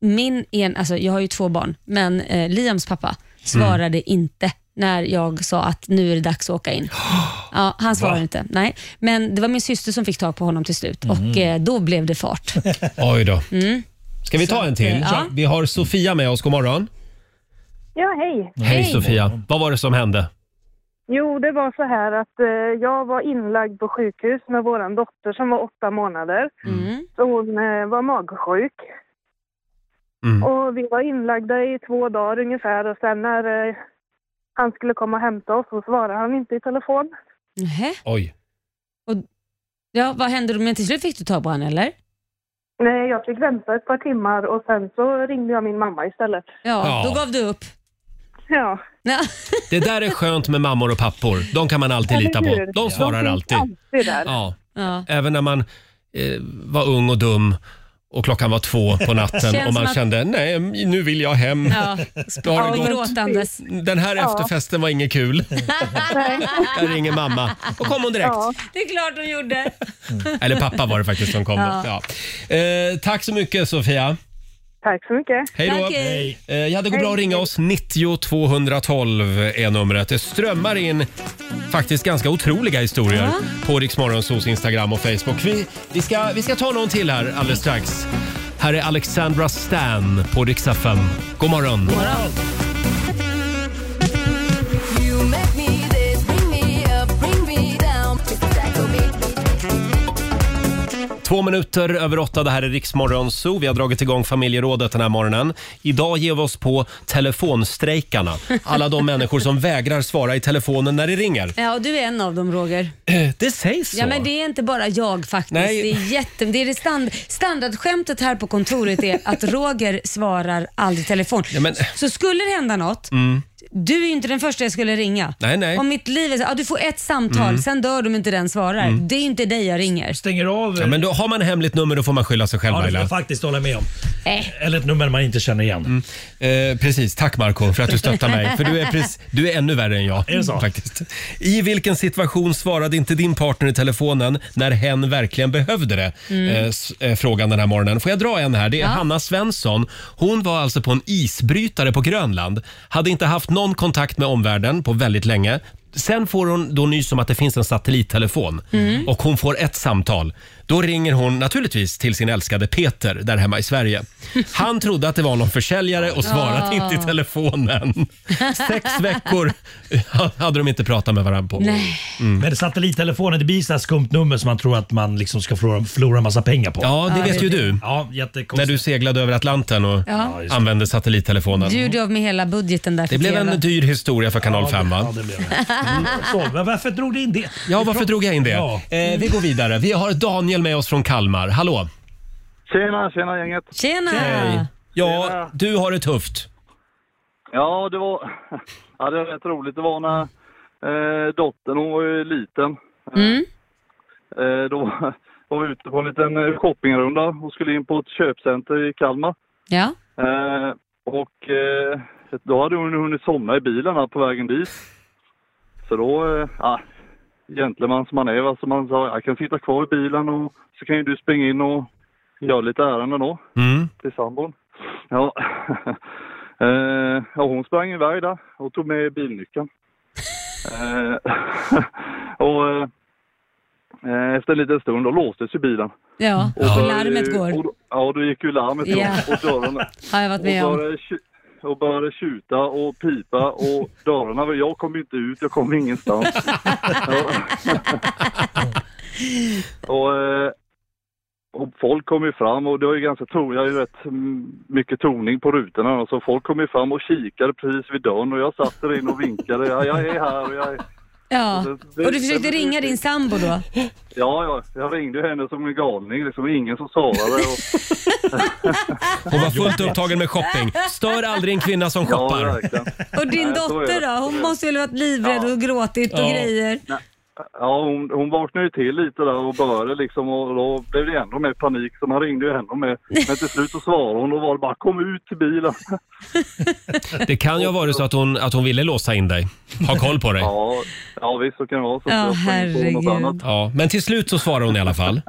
Min en, alltså jag har ju två barn, men eh, Liams pappa svarade Mm. inte när jag sa att nu är det dags att åka in. Ja, han svarade inte. Nej. Men det var min syster som fick tag på honom till slut och Mm. eh, då blev det fart. Oj då. Mm. Ska vi ta en till? Ja. Vi har Sofia med oss. God morgon. Ja, hej. Hej Sofia. Vad var det som hände? Jo, det var så här att eh, jag var inlagd på sjukhus med vår dotter som var åtta månader. Mm. Så hon eh, var magsjuk. Mm. Och vi var inlagda i två dagar ungefär och sen när eh, han skulle komma och hämta oss så svarade han inte i telefon. Nähä. Oj. Ja, vad hände då? Men till slut fick du tag på honom eller? Nej, jag fick vänta ett par timmar och sen så ringde jag min mamma istället. Ja, Ja. då gav du upp. Ja. Det där är skönt med mammor och pappor. De kan man alltid Eller lita på. hur? De svarar finns alltid. alltid där. Ja. Ja. Även när man eh, var ung och dum och klockan var två på natten Känns och som man att- kände nej, nu vill jag hem. Ja, Då har det gått. gråtandes. Den här Ja. efterfesten var inget kul. Jag ringer mamma. Och kom hon direkt. Det är klart hon gjorde. Eller pappa var det faktiskt som kom. Ja. Ja. Eh, tack så mycket Sofia. Tack så mycket. Hej då. Eh, ja, det går bra att Hej. ringa oss. 90 212 är numret. Det strömmar in faktiskt ganska otroliga historier på Rix Morgonzos Instagram och Facebook. Vi, vi, ska, vi ska ta någon till här alldeles strax. Här är Alexandra Stan på Rix FM. God morgon. God morgon. You make me this, bring me up, bring me down. Två minuter över åtta, det här är Riksmorgon Zoo. Vi har dragit igång familjerådet den här morgonen. Idag ger vi oss på telefonstrejkarna. Alla de människor som vägrar svara i telefonen när det ringer. Ja, och du är en av dem Roger. Eh, Det sägs så. Ja, men det är inte bara jag faktiskt. Nej. Det är, jätte, det är det stand, standardskämtet här på kontoret är att Roger svarar aldrig telefon. Ja, men- Så skulle det hända något, Mm. du är ju inte den första jag skulle ringa. Nej, nej. Om mitt liv är så, ja, du får ett samtal, Mm. sen dör de inte den svarar. Mm. Det är ju inte dig jag ringer. Stänger av... Ja, men då, har man hemligt nummer då får man skylla sig själv Ja, det får Laila. jag faktiskt hålla med om. Äh. Eller ett nummer man inte känner igen. Eh, precis, tack Marco för att du stöttar mig. För du är, precis, du är ännu värre än jag. Är det så? Faktiskt. I vilken situation svarade inte din partner i telefonen när hen verkligen behövde det? Mm. Eh, s- eh, frågan den här morgonen. Får jag dra en här? Det är Ja. Hanna Svensson. Hon var alltså på en isbrytare på Grönland. Hade inte haft någon kontakt med omvärlden på väldigt länge. Sen får hon då nys om att det finns en satellittelefon Mm. och hon får ett samtal. Då ringer hon naturligtvis till sin älskade Peter där hemma i Sverige. Han trodde att det var någon försäljare och svarade Ah. inte i telefonen. Sex veckor hade de inte pratat med varandra på. Nej. Mm. Men satellittelefonen, det blir så här skumt nummer som man tror att man liksom ska förlora, förlora massa pengar på. Ja, det Ja, vet det- ju du. Ja, När du seglade över Atlanten och Ja. just det. använde satellittelefonen. Du gjorde av med hela budgeten där för Det blev TV. en dyr historia för Kanal 5 va? Mm. Så, men varför drog du in det? Ja, varför drog jag in det? Ja. Eh, vi går vidare. Vi har Daniel med oss från Kalmar. Hallå! Tjena, tjena gänget. Tjena! Hej. Ja, du har det tufft. Ja, det var, ja, det var rätt roligt. Det var när eh, dottern, hon var ju liten. Mm. Eh, då var vi ute på en liten eh, shoppingrunda och skulle in på ett köpcenter i Kalmar. Ja. Eh, och eh, då hade hon hunnit somna i bilen här på vägen dit. Så då, eh, ja, gentleman som man är, va, så man sa jag kan sitta kvar i bilen och så kan ju du springa in och göra lite ärenden då. Mm. till sambon. Ja. Eh, ja, hon sprang iväg där och tog med bilnyckeln. Eh, och eh, eh, efter en liten stund då låstes ju bilen. Ja, Och då- larmet går. Och, då- ja, då gick ju larmet igång Ja. och dörrarna. Har jag Och varit med om. började, tju- och började tjuta och pipa och dörrarna, var- jag kom ju inte ut, jag kom ingenstans. Ja. och, eh, och folk kom ju fram och det var ju ganska ton, jag har ju rätt mm, mycket toning på rutorna så folk kom ju fram och kikade precis vid dörren och jag satt där inne och vinkade, ja, jag är här och jag är... Ja. det- Och du försökte ringa din sambo då? Ja, ja, jag ringde ju henne som en galning liksom, ingen som svarade. Och... Hon var fullt upptagen med shopping. Stör aldrig en kvinna som shoppar. Och din Nej, så är dotter det. då? Hon måste väl ha varit livrädd och gråtit och Ja. grejer? Ja, hon, hon vaknade ju till lite där och började liksom och då blev det ännu mer panik så man ringde ju ännu mer. Men till slut så svarade hon och var det bara kom ut till bilen. Det kan ju ha varit så att hon, att hon ville låsa in dig. Ha koll på dig. Ja, ja visst så kan det vara. Så Ja, jag sprang på något herregud. annat. Ja, men till slut så svarade hon i alla fall.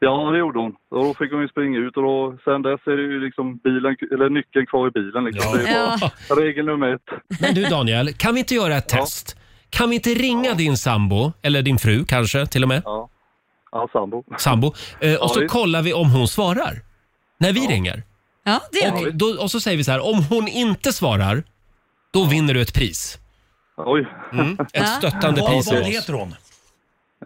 Ja, det gjorde hon. Och då fick hon ju springa ut och då, sen dess är det ju liksom bilen, eller nyckeln kvar i bilen liksom. Det är bara regel nummer ett. Men du Daniel, kan vi inte göra ett test? Kan vi inte ringa din sambo, eller din fru kanske till och med? Ja, ja sambo. Sambo. Eh, och så visst. kollar vi om hon svarar. När vi ringer. Ja, det gör Och, då, och så säger vi så här, om hon inte svarar, då vinner du ett pris. Oj. Mm, ett stöttande Vad- pris Vad av oss. heter hon?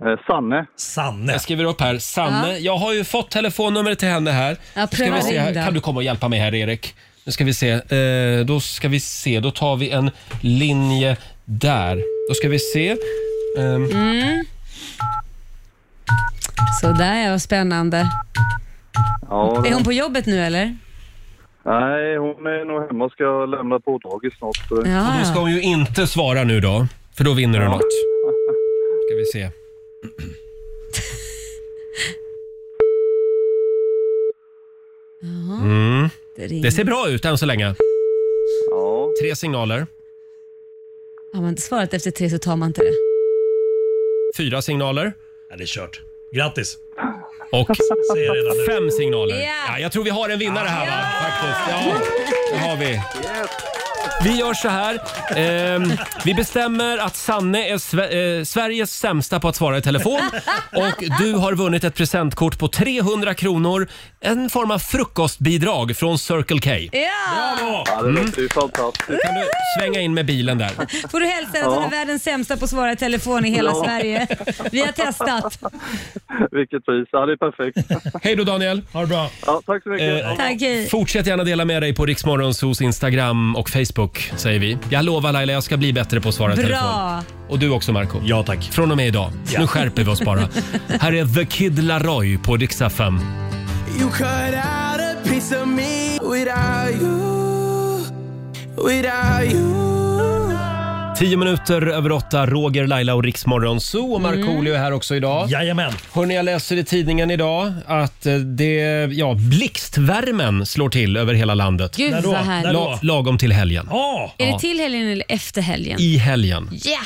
Eh, Sanne. Sanne. Jag skriver upp här. Sanne. Ja. Jag har ju fått telefonnumret till henne här. Ja, Nu ska pröva vi se här. ring då. Kan du komma och hjälpa mig här Erik? Nu ska vi se. Eh, då ska vi se. Då tar vi en linje där. Då ska vi se. Ehm, Mm. Så där var spännande. Ja, Är hon på jobbet nu eller? Nej, hon är nog hemma och ska lämna på dagis snart. så- Och då ska hon ju inte svara nu då, för då vinner du något. Ska vi se. Mm. Det Det ser bra ut än så länge. Tre signaler. Har man inte svarat efter tre så tar man inte det. Fyra signaler. Ja, det är kört. Grattis! Och Ser jag redan nu. fem signaler. Ja. Ja, jag tror vi har en vinnare här va? Faktiskt. Ja, det har vi. Vi gör så här. Ehm, vi bestämmer att Sanne är Sve- eh, Sveriges sämsta på att svara i telefon. Och du har vunnit ett presentkort på 300 kronor. En form av frukostbidrag från Circle K. Ja! Ja, det låter ju fantastiskt. kan du svänga in med bilen där. Får du hälsa att Ja. hon är världens sämsta på att svara i telefon i hela Ja. Sverige. Vi har testat. Vilket pris. Ja, det är perfekt. Hej då Daniel. Ha det bra. Ja, tack så mycket. Eh, Tack, hej. Fortsätt gärna dela med dig på Riksmorgonsos Instagram och Facebook, säger vi. Jag lovar Laila, jag ska bli bättre på att svara i Bra. telefon. Och du också Marco Ja tack. Från och med idag. Ja. Nu skärper vi oss bara. Här är The Kid Laroi på Dix FM. You cut out a piece of me without you, without you. Tio minuter över åtta, Roger, Laila och Riksmorgon Zoo och Markoolio är här också idag. Jajamän. Hörrni, jag läser i tidningen idag att eh, det, ja, blixtvärmen slår till över hela landet. Gud, När då? vad härligt. När då? La, lagom till helgen. Är Ja. det till helgen eller efter helgen? I helgen. Ja!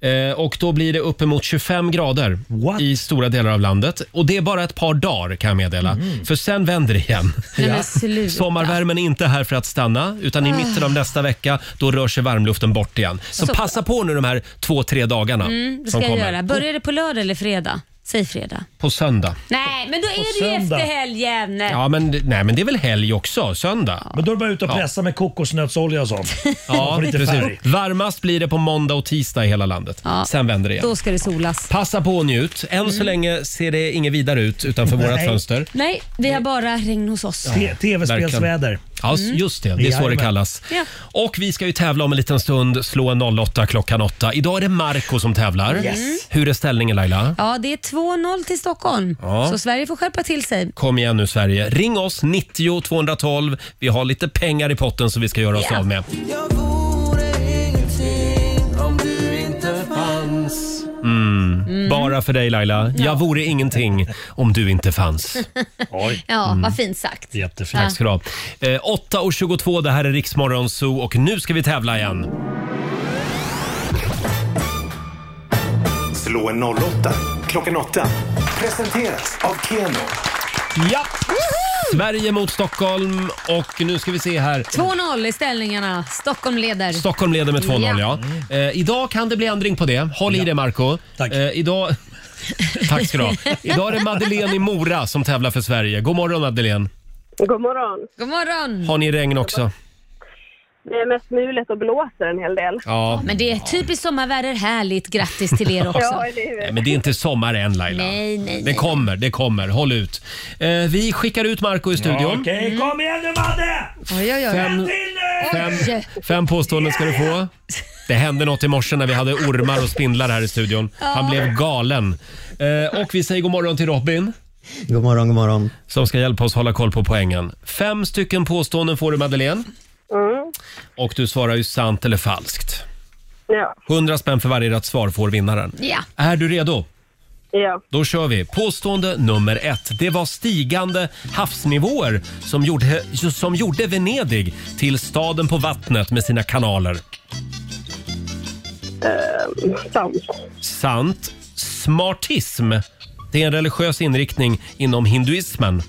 Ja, eh, och då blir det uppemot 25 grader i stora delar av landet. Och det är bara ett par dagar kan jag meddela. För sen vänder det igen. Mm. Nej, men sluta. Sommarvärmen är inte här för att stanna utan i Ah. mitten av nästa vecka då rör sig varmluften bort igen. Så, Så- passa på nu de här två, tre dagarna Mm, det som ska jag kommer. göra. Börjar det på lördag eller fredag? Säg fredag. På söndag. Nej, men då På är det ju söndag. efter helgen. Ja, men, det- nej, men det är väl helg också, söndag? Men då är det bara ut och Ja. pressa med kokosnötsolja och sånt. Man Ja, får lite färg. precis. Varmast blir det på måndag och tisdag i hela landet. Sen vänder det igen. Då ska det solas. Passa på och njut. Än så länge ser det inget vidare ut utanför vårt Nej. fönster. Nej, vi har bara regn hos oss. Te- Tv-spelsväder. verkligen. Ja, just det. Det är så det Jajamän. kallas. Ja. Och vi ska ju tävla om en liten stund. Slå en 08 klockan 8. Idag är det Marco som tävlar. Mm. Yes. Hur är ställningen Laila? Ja, det är 2-0 till Stockholm. Ja. Så Sverige får skärpa till sig. Kom igen nu Sverige. Ring oss 90 212. Vi har lite pengar i potten som vi ska göra oss Ja. av med. Om du inte fanns Mm. Bara för dig Laila. Jag vore ingenting om du inte fanns. Ja, Mm. vad fint sagt. Jättefint. Tack ska du ha. Eh, 8.22, det här är Riksmorgon Zoo och nu ska vi tävla igen. Slå en 08 klockan 8. Presenteras av Keno. Ja! Sverige mot Stockholm och nu ska vi se här. 2-0 i ställningarna. Stockholm leder. Stockholm leder med 2-0 ja. Ja. Eh, idag kan det bli ändring på det. Håll i det Marco Eh, idag... Tack ska du ha. Idag är det Madeleine i Mora som tävlar för Sverige. God morgon Madeleine. God morgon. God morgon. Har ni regn också? Det är mest mulet och blåser en hel del. Ja. Men det är typiskt sommarväder. Härligt. Grattis till er också. Ja, eller hur? Nej, men det är inte sommar än Laila. Nej, nej, Det nej. kommer, det kommer. Håll ut. Eh, vi skickar ut Marco i studion. Ja, Okej, kom igen nu Madde! Oj, oj, oj. Fem- Fem, fem påståenden ska du få. Det hände något i morse när vi hade ormar och spindlar här i studion. Ja. Han blev galen. Eh, och vi säger god morgon till Robin. God morgon, god morgon. Som ska hjälpa oss hålla koll på poängen. Fem stycken påståenden får du Madeleine. Mm. Och du svarar ju sant eller falskt. Ja. 100 spänn för varje rätt svar får vinnaren. Ja. Är du redo? Ja. Då kör vi. Påstående nummer ett. Det var stigande havsnivåer som gjorde, som gjorde Venedig till staden på vattnet med sina kanaler. Eh, sant. Sant. Smartism. Det är en religiös inriktning inom hinduismen.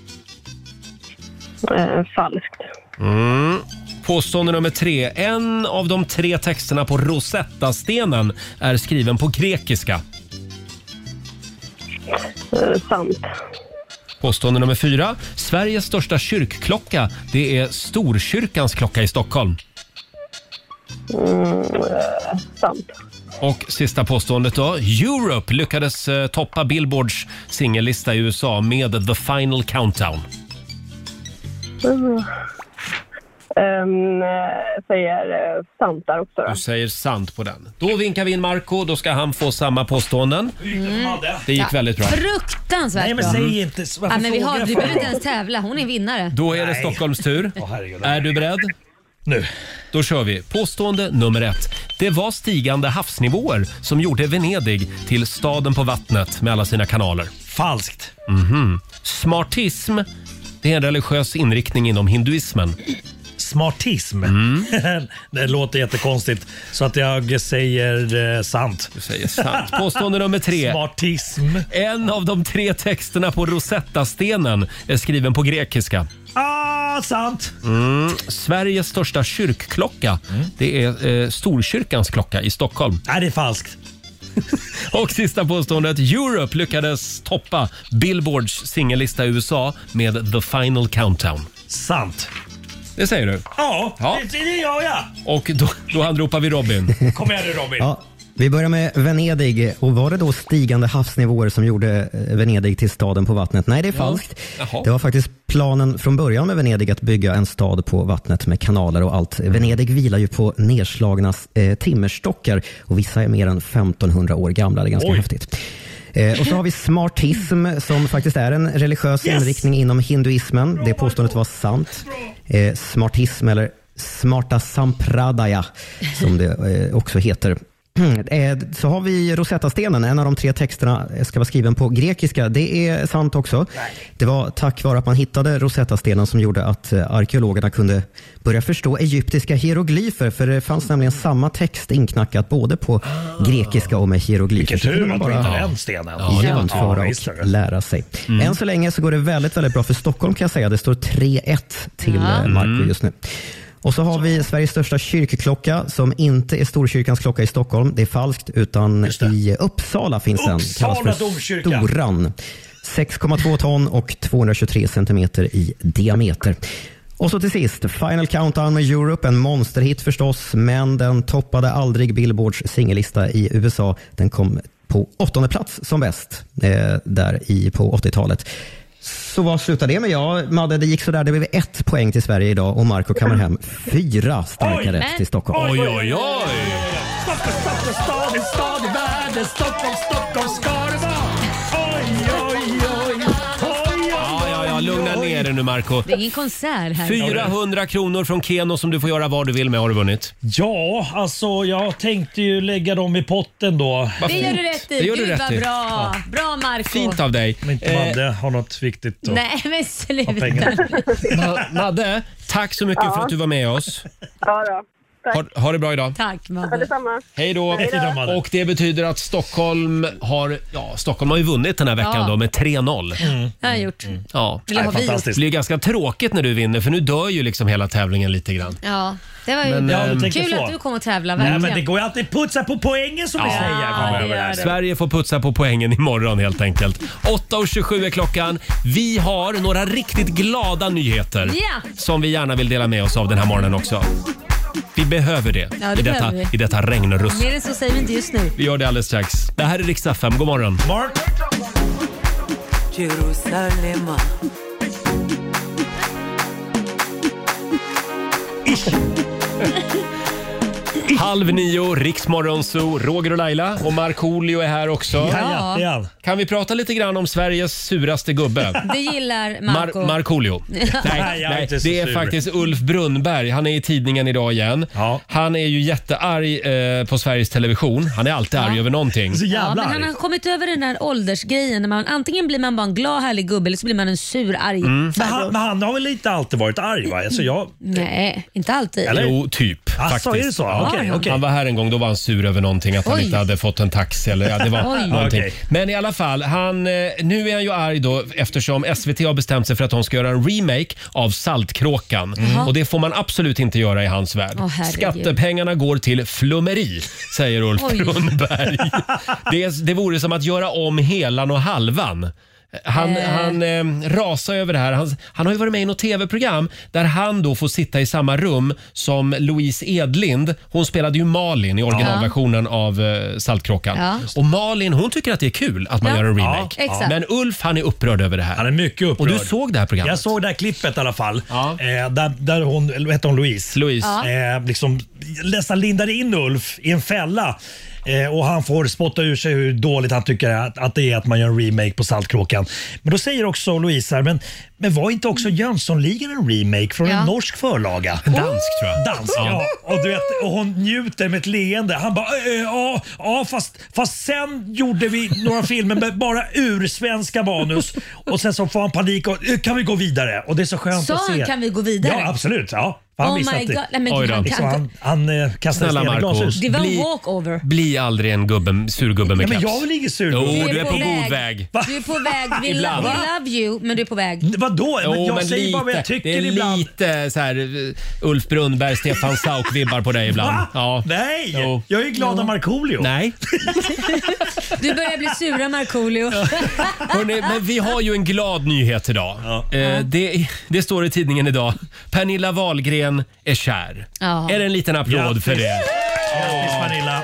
Eh, falskt. Mm. Påstående nummer tre. En av de tre texterna på Rosetta-stenen är skriven på grekiska. Eh, sant. Påstående nummer fyra. Sveriges största kyrkklocka det är Storkyrkans klocka i Stockholm. Mm, eh, sant. Och sista påståendet då. Europe lyckades eh, toppa Billboards singellista i USA med The Final Countdown. Mm. Ehm, eh, säger eh, sant där också. Då. Du säger sant på den. Då vinkar vi in Marco. Då ska han få samma påståenden. Mm. Det gick väldigt bra. Fruktansvärt Nej, men bra. säg inte- varför Ja, men vi, har, frågar vi för? behöver inte ens tävla. Hon är vinnare. Då är det Stockholms tur. är du beredd? Nu. Då kör vi. Påstående nummer ett. Det var stigande havsnivåer som gjorde Venedig till staden på vattnet med alla sina kanaler. Falskt. Mhm. Smartism, det är en religiös inriktning inom hinduismen. Smartism. Mm. det låter jättekonstigt så att jag säger eh, sant. Du säger sant. Påstående nummer tre. Smartism. En av de tre texterna på Rosetta-stenen är skriven på grekiska. Ah! Ja, sant! Mm. Sveriges största kyrkklocka. Mm. Det är eh, Storkyrkans klocka i Stockholm. Nej, det är falskt. Och sista påståendet. Europe lyckades toppa Billboards singellista i USA med The Final Countdown. Sant. Det säger du? Ja, Ja. Det, det gör jag. Och då, då anropar vi Robin. Kom igen nu Robin. Ja, vi börjar med Venedig. Och var det då stigande havsnivåer som gjorde eh, Venedig till staden på vattnet? Nej, det är Ja. falskt. Jaha. Det var faktiskt planen från början med Venedig att bygga en stad på vattnet med kanaler och allt. Venedig vilar ju på nedslagna eh, timmerstockar och vissa är mer än 1500 år gamla. Det är ganska Oj. häftigt. Eh, och så har vi smartism som faktiskt är en religiös inriktning inom hinduismen. Det påståendet var sant. Eh, smartism eller smarta sampradaya som det eh, också heter. Eh, Så har vi Rosetta-stenen, en av de tre texterna eh, ska vara skriven på grekiska. Det är sant också. Det var tack vare att man hittade Rosetta-stenen som gjorde att eh, arkeologerna kunde börja förstå egyptiska hieroglyfer, för det fanns nämligen samma text inknackat både på grekiska och med hieroglyfer. Ah. Vilken Så kunde tur man att du inte bara- har den stenen. jämföra Ja, visst är och det. Mm. lära sig. Än så länge så går det väldigt, väldigt bra för Stockholm kan jag säga. Det står 3-1 till Ja. ja. Mm. Marco just nu. Och så har vi Sveriges största kyrkklocka som inte är Storkyrkans klocka i Stockholm. Det är falskt, utan i Uppsala finns den. Uppsala Kallas för domkyrka. Storan. 6,2 ton och 223 centimeter i diameter. Och så till sist, Final Countdown med Europe, en monsterhit förstås, men den toppade aldrig Billboards singellista i USA. Den kom på åttonde plats som bäst, eh, där i, på 80-talet. Så vad slutar det med? Ja, Madde, det gick sådär. Det blev ett poäng till Sverige idag och Marco kammar hem fyra starka rätt till Stockholm. Oj, oj, oj! Stockholm, Stockholm, stad i stad i världen. Stockholm, Stockholm ska det vara. Oj, oj, oj. Oj, Ja, ja, ja, lugna ner dig nu Marco. Det är ingen konsert här. 400 kronor från Keno som du får göra vad du vill med har du vunnit. Ja, alltså jag tänkte ju lägga dem i potten då. Det gör du rätt i. Det gör du Gud rätt vad i. bra. Bra Marco Fint alltså. av dig. Eh, Om inte Madde har något viktigt då. Nej men sluta. pengar. Ma- Madde, tack så mycket Ja. för att du var med oss. Ja, då. Tack. Ha, ha det bra idag. Tack Ja, Madde. detsamma. Hej då. Hej då. Och det betyder att Stockholm har, ja, Stockholm har ju vunnit den här veckan Ja. Mm. då med 3-0. Det har jag gjort. Ja. Eller har vi gjort? Det blir ganska tråkigt när du vinner för nu dör ju liksom hela tävlingen lite grann. Ja, det var ju Men, bra. ja, du tänker Kul så. att du kom och tävlade. Nej, Verkligen. men det går ju alltid putsa på poängen som vi säger. framöver här. Sverige får putsa på poängen imorgon helt enkelt. 8.27 är klockan. Vi har några riktigt glada nyheter Ja. som vi gärna vill dela med oss av den här morgonen också. Vi behöver det, Ja, det i, detta, behöver vi. i detta regn och rusk. Mer än så säger vi inte just nu. Vi gör det alldeles strax. Det här är Rix FM. God morgon. Halv nio, Riksmorgon Zoo, Roger och Laila och Markoolio är här också. Ja, det är han. Kan vi prata lite grann om Sveriges suraste gubbe? Det gillar Marco. Mar- Markoolio. Ja. Nej, Nej, jag är nej, inte så det är sur. faktiskt Ulf Brunnberg. Han är i tidningen idag igen. Han är ju jättearg eh, på Sveriges Television. Han är alltid arg över någonting. ja, men han har kommit över den här åldersgrejen. När man, antingen blir man bara en glad härlig gubbe eller så blir man en sur arg Mm. Men, farbror. han, men han har väl inte alltid varit arg? Va? Alltså, jag, Nej, inte alltid. Eller? Jo, typ. Asså, faktiskt. är det så? Ja. Okej, okej. Han var här en gång, då var han sur över någonting. Att han Oj. inte hade fått en taxi eller ja, det var Oj. någonting. Okej. Men i alla fall, han, eh, nu är han ju arg då eftersom SVT har bestämt sig för att de ska göra en remake av Saltkråkan. Mm. Jaha. Och det får man absolut inte göra i hans värld. Åh, herregud. Skattepengarna går till flummeri, säger Ulf Oj. Brunnberg. Det, det vore som att göra om helan och halvan. Han, Eh. han eh, rasar över det här. Han, han har ju varit med i något tv-program där han då får sitta i samma rum som Louise Edlind. Hon spelade ju Malin i originalversionen av eh, Saltkråkan. Ja. Just Och Malin hon tycker att det är kul att man Ja. gör en remake. Ja, exakt. Men Ulf han är upprörd över det här. Han är mycket upprörd. Och du såg det här programmet? jag såg det här klippet i alla fall. Eh, där, där hon, eller hette hon Louise? Louise. Ja. Eh, liksom, nästan lindade in Ulf i en fälla. Eh, och han får spotta ur sig hur dåligt han tycker att, att det är att man gör en remake på Saltkråkan. Men då säger också Louise här, men, men var inte också Jönssonligan en remake från Ja. en norsk förlaga? Dansk tror jag. Dansk, ja. Och, du vet, och hon njuter med ett leende. Han bara, "Eh, eh, ja, ja fast, fast sen gjorde vi några filmer med bara ursvenska manus och sen så får han panik och "Eh, kan vi gå vidare? Och det är så skönt Sa att se. han, "Kan vi gå vidare?" Ja, absolut. Ja. För han Oh visste my att det- God. Nej, men Oj då. han kan Liksom, han, inte- han eh, kastade Snälla sten i Marco. glashus. Det var en Bli- walkover. Bli aldrig en gubbe, surgubbe med Nej, men keps. jag vill ingen surgubbe. Jo, du är på god väg. Du är på väg. Vi, lo- Ibland. vi love you, men du är på väg. Vadå? Jo, men lite. det är lite så här eh, Ulf Brunnberg, Stefan Sauk vibbar på dig ibland. Va? Ja. Nej, Jo. jag är ju glad av Markoolio. Nej. Du börjar bli sura Markoolio. Hörrni, men vi har ju en glad nyhet idag. Eh, det, det står i tidningen idag. Pernilla Wahlgren är kär. Ja. Är det en liten applåd för det? Grattis Pernilla.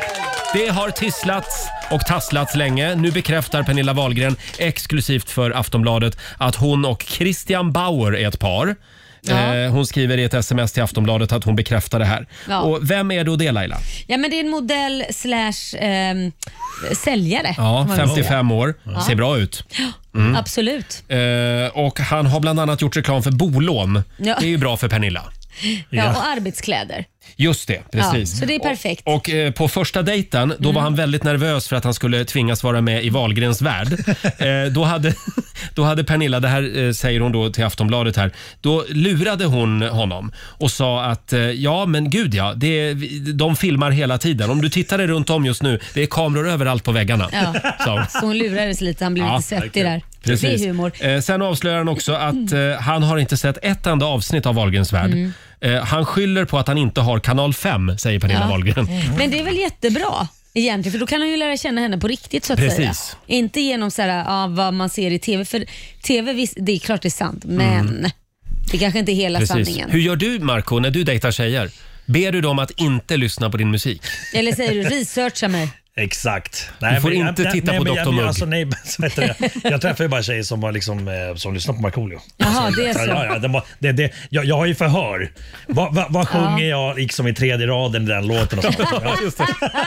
Det har tisslats och tasslats länge. Nu bekräftar Pernilla Wahlgren exklusivt för Aftonbladet att hon och Christian Bauer är ett par. Ja. Eh, Hon skriver i ett sms till Aftonbladet att hon bekräftar det här. Ja. Och vem är då det Laila? Ja, men det är en modell slash ehm, säljare. kan man Ja, väl säga. 55 år. Ja. Ser bra ut. Mm. Mm. Absolut. Eh, och han har bland annat gjort reklam för bolån. Ja. Det är ju bra för Pernilla. Ja, och arbetskläder. Just det, precis. Ja, så det är perfekt. Mm. Och eh, på första dejten, då var han väldigt nervös för att han skulle tvingas vara med i Wahlgrens värld. eh, då, hade, då hade Pernilla, det här eh, säger hon då till Aftonbladet här, då lurade hon honom och sa att eh, ja men gud ja, det, är- vi- de filmar hela tiden. Om du tittar dig runt om just nu, det är kameror överallt på väggarna. Ja. sa hon. Så hon lurades lite, han blev Ja, lite svettig där. Precis. Det är humor. Eh, sen avslöjar han också att eh, han har inte sett ett enda avsnitt av Wahlgrens värld. Mm. Eh, han skyller på att han inte har kanal 5, säger Pernilla Ja. Wahlgren. Men det är väl jättebra egentligen, för då kan han ju lära känna henne på riktigt så att Precis. säga. Inte genom så här, ja, vad man ser i TV, för TV, visst, det är klart det är sant, men det kanske inte är hela Mm. Precis. sanningen. Hur gör du Marco när du dejtar tjejer? Ber du dem att inte lyssna på din musik? Eller säger du, researcha mig. Exakt. får men jag- inte titta nej, på men jag- Dr. Mugg. Alltså, nej, men, så heter det. jag träffar ju bara tjejer som, var liksom, eh, som lyssnar på Markoolio. Alltså, Jaha, det är så. Ja, ja, det, var- det, det, jag, jag har ju förhör. Vad va, vad sjunger jag liksom i tredje raden i den låten? Och sånt. Ja.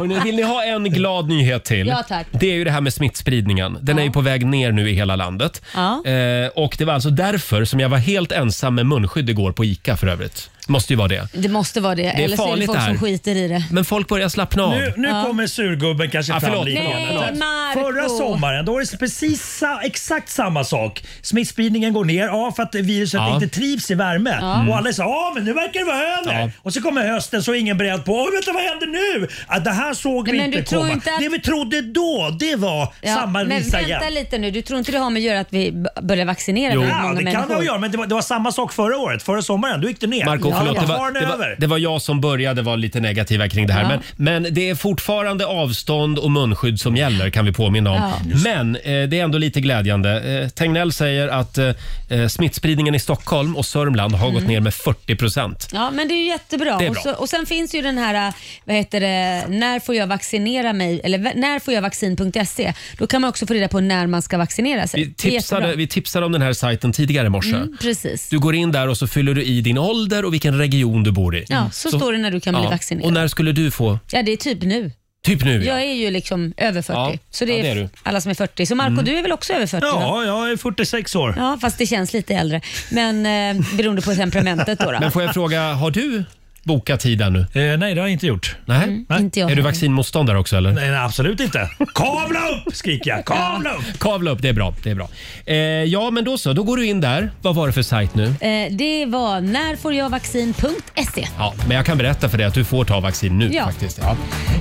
Och nu vill ni ha en glad nyhet till? Ah. Ja, tack. Det är ju det här med smittspridningen. Den är ju på väg ner nu i hela landet. Ja. Eh, och det var alltså därför som jag var helt ensam med munskydd igår på ICA för övrigt. Måste ju vara det. Det måste vara det, är eller så är det farligt folk där. som skiter i det. Men folk börjar slappna av. Nu, nu Ja. kommer surgubben kanske Ja, fram förlåt, lite. förlåt, förlåt. Marco. Förra sommaren då är det precis sa, exakt samma sak. Smittspridningen går ner ja, för att viruset Ja. inte trivs i värme. Ja. Och alla säger ja men nu verkar det vara över. Ja. Och så kommer hösten så är ingen beredd på "Oj, vänta, vad händer nu? Att det här såg vi Nej, men du inte tror komma. inte att- Det vi trodde då det var Ja, samma men visa vänta igen. lite nu, du tror inte det har med att göra att vi b- börjar vaccinera Jo. väldigt Ja, många det kan det människor? ha att göra men det var, det var samma sak förra året. Förra sommaren då gick det ner. Marco, ja, förlåt. ja. Det var, Faran är det, över. var, det var jag som började vara lite negativa kring det här. Ja. Men, men det är fortfarande avstånd och munskydd som gäller kan vi påminna om. Ja. Just Men eh, det är ändå lite glädjande. Eh, Tegnell säger att eh, eh, smittspridningen i Stockholm och Sörmland har gått Mm. ner med 40 procent. Ja, men det är ju jättebra. Det är och, bra. så, och Sen finns ju den här, äh, vad heter det, när får jag vaccinera mig? Eller v- när får jag vaccin.se? E? Då kan man också få reda på när man ska vaccinera sig. Vi Det är tipsade, jättebra. vi tipsade om den här sajten tidigare i morse. Mm, precis. Du går in där och så fyller du i din ålder och vilken region du bor i. Ja, så står det när du kan bli vaccinerad. Mm. Och när skulle du få? Ja, det är typ nu. Typ nu ja. Jag är ju liksom över 40, Ja, så det är, ja, det är du. alla som är 40. Så Marco, Mm. du är väl också över 40? va? Ja, jag är 46 år. Ja, fast det känns lite äldre. Men eh, beroende på temperamentet då. då. Men får jag fråga, har du bokat tiden nu? Eh, nej, det har jag inte gjort. Nej? inte jag är du heller. vaccinmotståndare också eller? Nej, nej, absolut inte. Kavla upp skriker jag. Kavla upp! Kavla upp, det är bra. Det är bra. Eh, ja, men då så. Då går du in där. Vad var det för sajt nu? Eh, det var när får jag E? vaccin.se. Ja, men jag kan berätta för dig att du får ta vaccin nu Ja. faktiskt. Ja.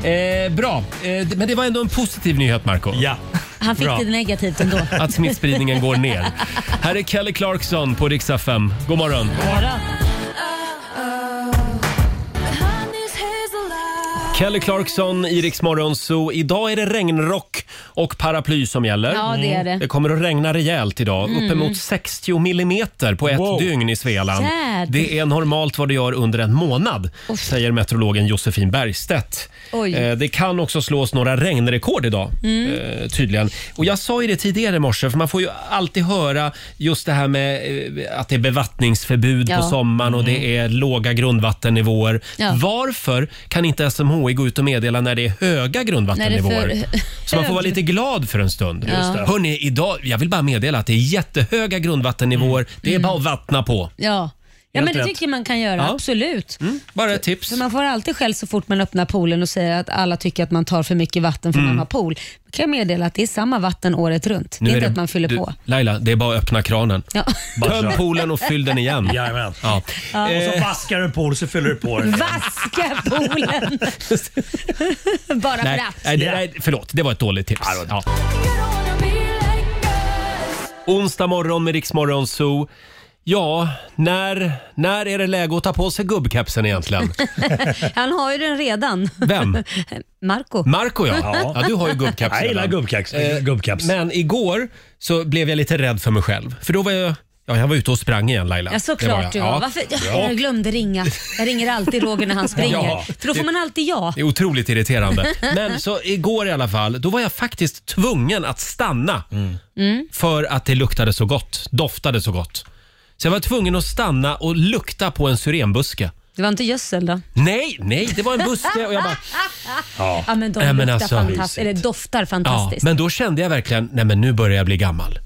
Eh, bra, eh, men det var ändå en positiv nyhet Marco. Ja. Han fick det negativt ändå. Att smittspridningen går ner. Här är Kelly Clarkson på Rix FM. God morgon. Kelly Clarkson i Rix Morgon Zoo. Idag är det regnrock och paraply som gäller. Mm. Ja, det är det. Det kommer att regna rejält idag. Mm. Uppemot 60 millimeter på ett dygn i Svealand. Jädrar. Det är normalt vad det gör under en månad, säger meteorologen Josefin Bergstedt. Oj. Eh, Det kan också slås några regnrekord idag, Mm. eh, tydligen. Och Jag sa ju det tidigare i morse, för man får ju alltid höra just det här med eh, att det är bevattningsförbud Ja. Mm. på sommaren och det är låga grundvattennivåer. Ja. Varför kan inte SMHi gå ut och meddela när det är höga grundvattennivåer? När det är för- Så man får vara lite glad för en stund. Ja. Just det. Hörrni, Mm. idag, jag vill bara meddela att det är jättehöga grundvattennivåer. Det är bara att vattna på. Ja. Ja, men det rätt. tycker jag man kan göra, Ja. Mm. absolut. Bara ett tips. För man får alltid skäll så fort man öppnar poolen och säger att alla tycker att man tar för mycket vatten för Mm. man har pool. Då kan jag meddela att det är samma vatten året runt. det är inte att man fyller du, på. Laila, det är bara att öppna kranen. Ja. Bara Töm kör. poolen och fyll den igen. Jajamän. Ja. Eh, Och så vaskar du en pool så fyller du på den. Vaska poolen! Bara Nej, för att. nej, det- nej, förlåt. Det var ett dåligt tips. Ja. Onsdag morgon med Riksmorgon Zoo. Ja, när, när är det läge att ta på sig gubbkepsen egentligen? Han har ju den redan. Vem? Marco. Marco ja. ja. du har ju gubbkepsen. Jag gillar gubbkeps. gubbkeps. Men igår så blev jag lite rädd för mig själv. För då var jag, ja, jag var ute och sprang igen Laila. Ja, Det var såklart jag. du Ja. var. Varför? Ja, Och jag glömde ringa. Jag ringer alltid Roger när han springer. Ja. För då får man alltid ja. Det är otroligt irriterande. Men så igår i alla fall, då var jag faktiskt tvungen att stanna. Mm. För att det luktade så gott, doftade så gott. Så jag var tvungen att stanna och lukta på en syrenbuske. Det var inte gödsel då? Nej, nej, det var en buske och jag bara... Ja, men de Nej, men luktar alltså- fantastiskt. Eller doftar Ja, fantastiskt. men då kände jag verkligen, nej men nu börjar jag bli gammal.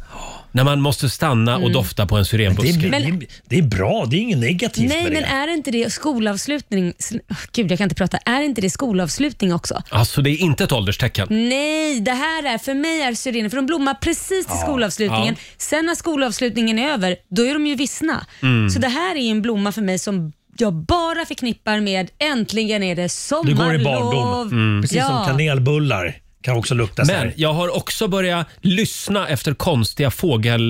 När man måste stanna och Mm. dofta på en syrenbuske. Men det är- Men- det är bra, det är inget negativt Nej, men är inte det skolavslutning? sn- åh, Gud, jag kan inte prata. Är inte det skolavslutning också? Alltså det är inte ett ålderstecken. Nej, det här är för mig är syrener, för de blommar precis till Ja, skolavslutningen. ja. Sen när skolavslutningen är över, då är de ju vissna. Mm. Så det här är ju en blomma för mig som jag bara förknippar med äntligen är det Du sommarlov. går i barndom. Mm. Precis som kanelbullar kan också lukta så Men här. jag har också börjat lyssna efter konstiga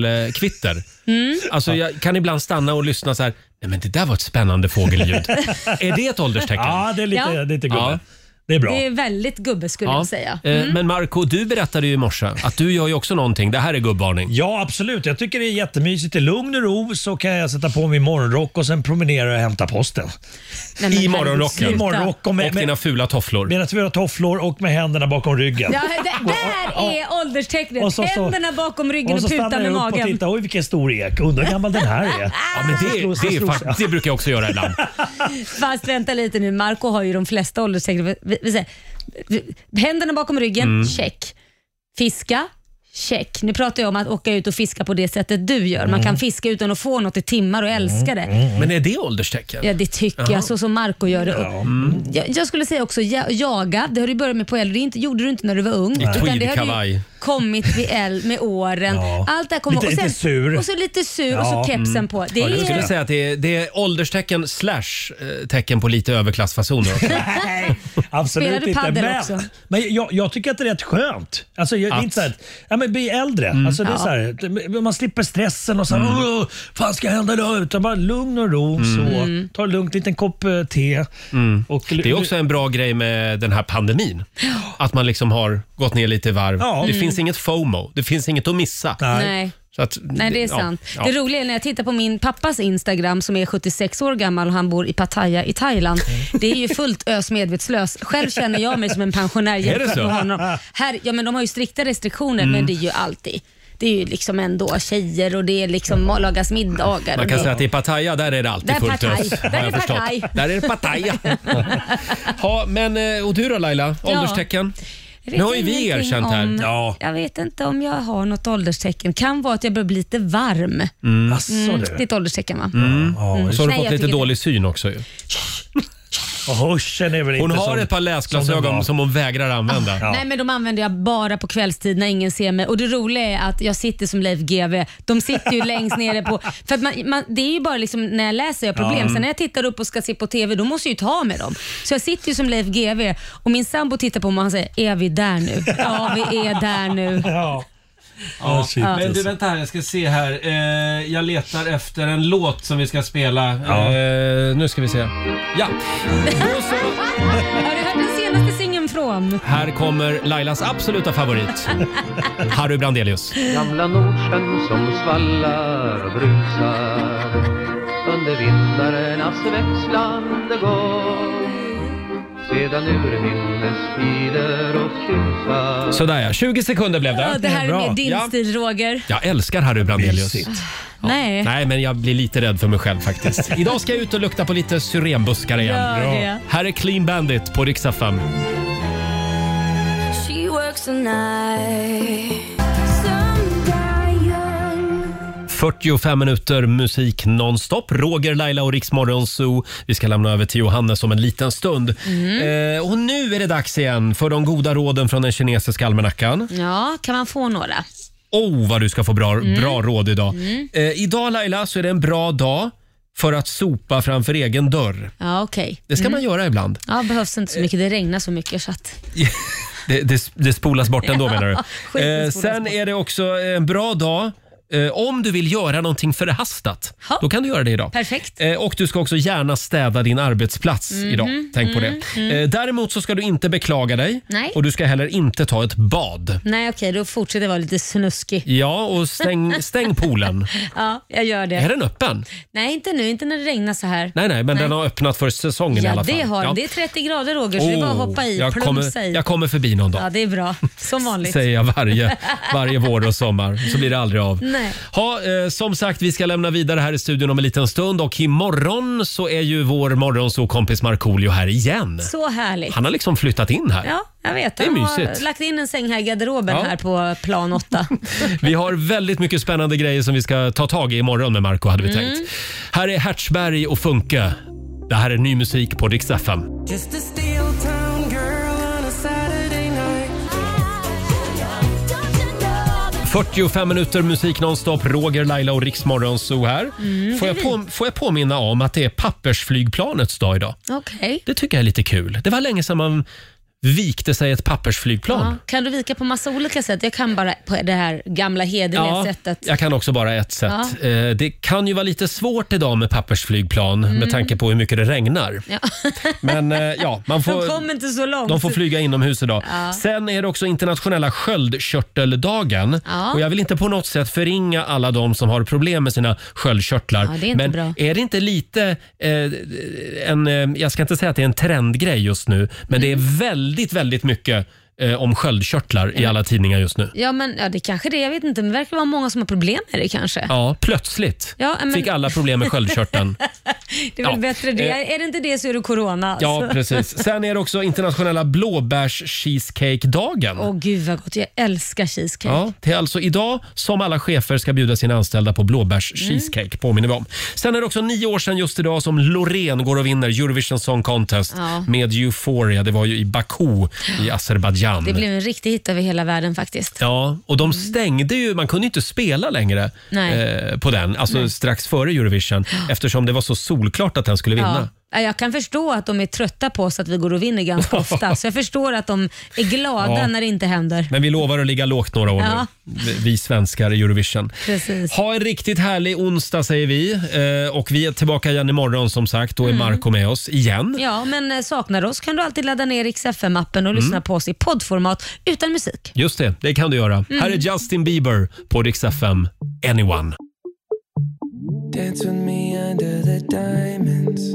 fågelkvitter. Mm. Alltså jag kan ibland stanna och lyssna så här. Nej men det där var ett spännande fågelljud. är det ett ålderstecken? Ja, det är lite, Ja. det är lite gubbe. Ja. Det är bra. Det är väldigt gubbe skulle Ja. jag säga. Eh, Mm. Men Marco, du berättade ju i morse att du gör ju också någonting. Det här är gubbvarning. Ja, absolut. Jag tycker det är jättemysigt. I lugn och ro så kan jag sätta på min morgonrock och sen promenera och hämta posten. men I morgonrocken. I morgonrock och med, Och dina med, fula tofflor. med fyra tofflor och med händerna bakom ryggen. Ja, det, där är ålderstecknet. Och så- så- Händerna bakom ryggen Och och, så puta stannar med jag upp och magen. tittar. Oj, vilken stor ek. Undrar hur gammal den här är. Ja, men det, Så slår- så det, är slår- fakt- det brukar jag också göra ibland. Fast vänta lite nu, Marco har ju de flesta ålderstecken. Vi- Vi, vi säger, vi- händerna bakom ryggen, Mm. check. Fiska, check. Nu pratar jag om att åka ut och fiska på det sättet du gör. Man Mm. kan fiska utan att få något i timmar och älska det. Men är det ålderstecken? Ja, det tycker Mm. Jaha. jag. Så som Marco gör det. Ja. Mm. Jag, jag skulle säga också ja, jaga. Det har du börjat med på äldre. Det inte, gjorde du inte när du var ung. I utan det har du ju tweedkavaj. kommit vid äldre med åren. Ja. Allt det här kommer Lite- och sen, lite sur. Och så lite sur och så kepsen Mm. på. Det Ja, är, jag skulle säga att det är, det är ålderstecken slash eh, tecken på lite överklassfasoner också. Absolut Spelar du inte. padel men, också? Men jag, jag tycker att det är rätt skönt. Alltså, jag, det är Att? inte så här, ja, men bli äldre. Mm. Alltså, det är Ja. så här, man slipper stressen och så här, "Åh, fan ska hända idag? Utan bara lugn och ro. Så. Mm. Ta en lugn liten kopp eh, te. Och, Det är också en bra grej med den här pandemin. Att man liksom har gått ner lite i varv. Ja. Det Mm. finns inget FOMO. Det finns inget att missa. Nej. Så att, Nej, det är ja, sant. ja. Det roliga är när jag tittar på min pappas Instagram som är 76 år gammal och han bor i Pattaya i Thailand. Mm. Det är ju fullt ös medvetslös. Själv känner jag mig som en pensionär Är det jämfört så? med honom. Här, ja, men de har ju strikta restriktioner, Mm. men det är ju alltid. Det är ju liksom ändå tjejer och det är liksom lagas middagar. Man och kan det- säga att i Pattaya, där är det alltid Där är fullt Pattaya. ös. har Där jag är förstått. Pattaya. Där är det Pattaya. ja, men, eh, och du då Laila? Ja. Ålderstecken? Jag vet Nu har ju vi ingenting erkänt här. om- Jag vet inte om jag har något ålderstecken. Kan vara att jag börjar bli lite varm. Mm. Asså, du. det är ett ålderstecken va? Mm. Mm. Och så har du Nej, fått jag lite tycker- dålig syn också ju. Och hörseln är väl Hon inte har som- ett par som den var. läsglasögon som hon vägrar använda. Nej men de använder jag bara på kvällstid när ingen ser mig. Och det roliga är att jag sitter som Leif GW. De sitter ju längst nere på... För att man, man, det är ju bara liksom när jag läser jag har problem. Ja. Sen när jag tittar upp och ska se på TV, då måste jag ju ta med dem. Så jag sitter ju som Leif GW och min sambo tittar på mig och han säger, är vi där nu? Ja, vi är där nu. Ja. shit, Men du alltså. vänta här, jag ska se här. Eh, jag letar efter en låt som vi ska spela. Eh, nu ska vi se. Ja, Har du hört den senaste singeln från? här kommer Lailas absoluta favorit. Harry Brandelius. Gamla Nordsjön som svallar och brusar under vindarnas växlande gång. Sedan urminnes tider och tjusar Sådär ja, 20 sekunder blev det. Ja, det här är mer din ja. stil Roger. Jag älskar Harry Brandelius. Mysigt. Nej. Nej, men jag blir lite rädd för mig själv faktiskt. Idag ska jag ut och lukta på lite syrenbuskar igen. Gör det. Bra. Här är Clean Bandit på Rix FM. She works a night. Some die young. 45 minuter musik nonstop. Roger, Laila och Riksmorgon Zoo. Vi ska lämna över till Johannes om en liten stund. Mm. Eh, och nu är det dags igen för de goda råden från den kinesiska almanackan. Ja, kan man få några? Oh, vad du ska få bra, Mm. bra råd idag. Mm. Eh, idag Laila så är det en bra dag för att sopa framför egen dörr. Ja, okej. Det ska Mm. man göra ibland. Ja, behövs inte så mycket. Det regnar så mycket så att... Det, det, det spolas bort ändå Ja, menar du? skiten Eh, spolas sen bort. är det också en bra dag eh, om du vill göra någonting förhastat. Ha. Då kan du göra det idag. Perfekt. Eh, och du ska också gärna städa din arbetsplats Mhm, idag. Tänk på mm, det. mm. Eh, däremot så ska du inte beklaga dig Nej. och du ska heller inte ta ett bad. Nej, okej, då fortsätter jag vara lite snuskig. Ja, och stäng, stäng poolen. Ja, jag gör det. Är den öppen? Nej, inte nu. Inte när det regnar så här. Nej, nej, men den har öppnat för säsongen i Ja, alla fall. det har den. Ja. Det är 30 grader, Roger, så det är bara att Åh, hoppa i. Jag kommer, plumsa i. jag kommer förbi någon dag. Ja, det är bra. Som vanligt. säger jag varje, varje vår och sommar. Så blir det aldrig av. Nej. Ha, eh, som sagt, vi ska lämna vidare här i studion om en liten stund och imorgon så är ju vår morgonsåkompis Markoolio här igen. Så härligt. Han har liksom flyttat in här. Ja, jag vet. Det är Han mysigt. har lagt in en säng här i garderoben Ja. här på plan 8. Vi har väldigt mycket spännande grejer som vi ska ta tag i imorgon med Marco hade vi Mm. tänkt. Här är Hertzberg och Funke. Det här är ny musik på Rix FM. Just a steel town girl on a Saturday night. 45 minuter musik nonstop. Roger, Laila och Riksmorgon så här. Mm, får, det är jag på, får jag påminna om att det är pappersflygplanets dag idag? Okej. Det tycker jag är lite kul. Det var länge sedan man vikte sig ett pappersflygplan. Ja. Kan du vika på massa olika sätt? Jag kan bara på det här gamla hederliga sättet. jag kan också bara ett sätt. Eh, Det kan ju vara lite svårt idag med pappersflygplan Mm. med tanke på hur mycket det regnar. Ja. Men eh, ja, man De får, kom inte så långt. de får flyga inomhus idag. Ja. Sen är det också internationella sköldkörteldagen. Ja. Och jag vill inte på något sätt förringa alla de som har problem med sina sköldkörtlar. Ja, det är inte Men bra. är det inte lite eh, en, eh, jag ska inte säga att det är en trendgrej just nu, Mm. men det är väldigt, väldigt mycket eh, om sköldkörtlar i alla tidningar just nu. Ja, men ja, det kanske det är. Jag vet inte, men det verkar vara många som har problem med det kanske. Ja, plötsligt Ja, men- fick alla problem med sköldkörteln. Det är väl Ja. bättre det. Eh. Är det inte det så är det corona. Ja, alltså. precis. Sen är det också internationella blåbärs-cheesecake-dagen. Åh gud vad gott, jag älskar cheesecake. Ja, det är alltså idag som alla chefer ska bjuda sina anställda på blåbärs-cheesecake, Mm. påminner vi om. Sen är det också nio år sedan just idag som Loreen går och vinner Eurovision Song Contest Ja. med Euphoria. Det var ju i Baku i Azerbajdzjan. Det blev en riktig hit över hela världen faktiskt. Ja, och de stängde ju, man kunde ju inte spela längre Nej. eh, på den, alltså Nej. strax före Eurovision, eftersom det var så solklart att den skulle vinna. Ja. Jag kan förstå att de är trötta på oss att vi går och vinner ganska ofta, så jag förstår att de är glada Ja. när det inte händer. Men vi lovar att ligga lågt några år Ja. nu, vi- vi svenskar i Eurovision. Precis. Ha en riktigt härlig onsdag säger vi. Eh, och vi är tillbaka igen imorgon som sagt. Då är Marco med oss igen. Mm. Ja, men eh, saknar oss kan du alltid ladda ner Rix FM-appen och lyssna på oss i poddformat utan musik. Just det, det kan du göra. Mm. Här är Justin Bieber på Rix FM. Anyone. Dance with me under the diamonds.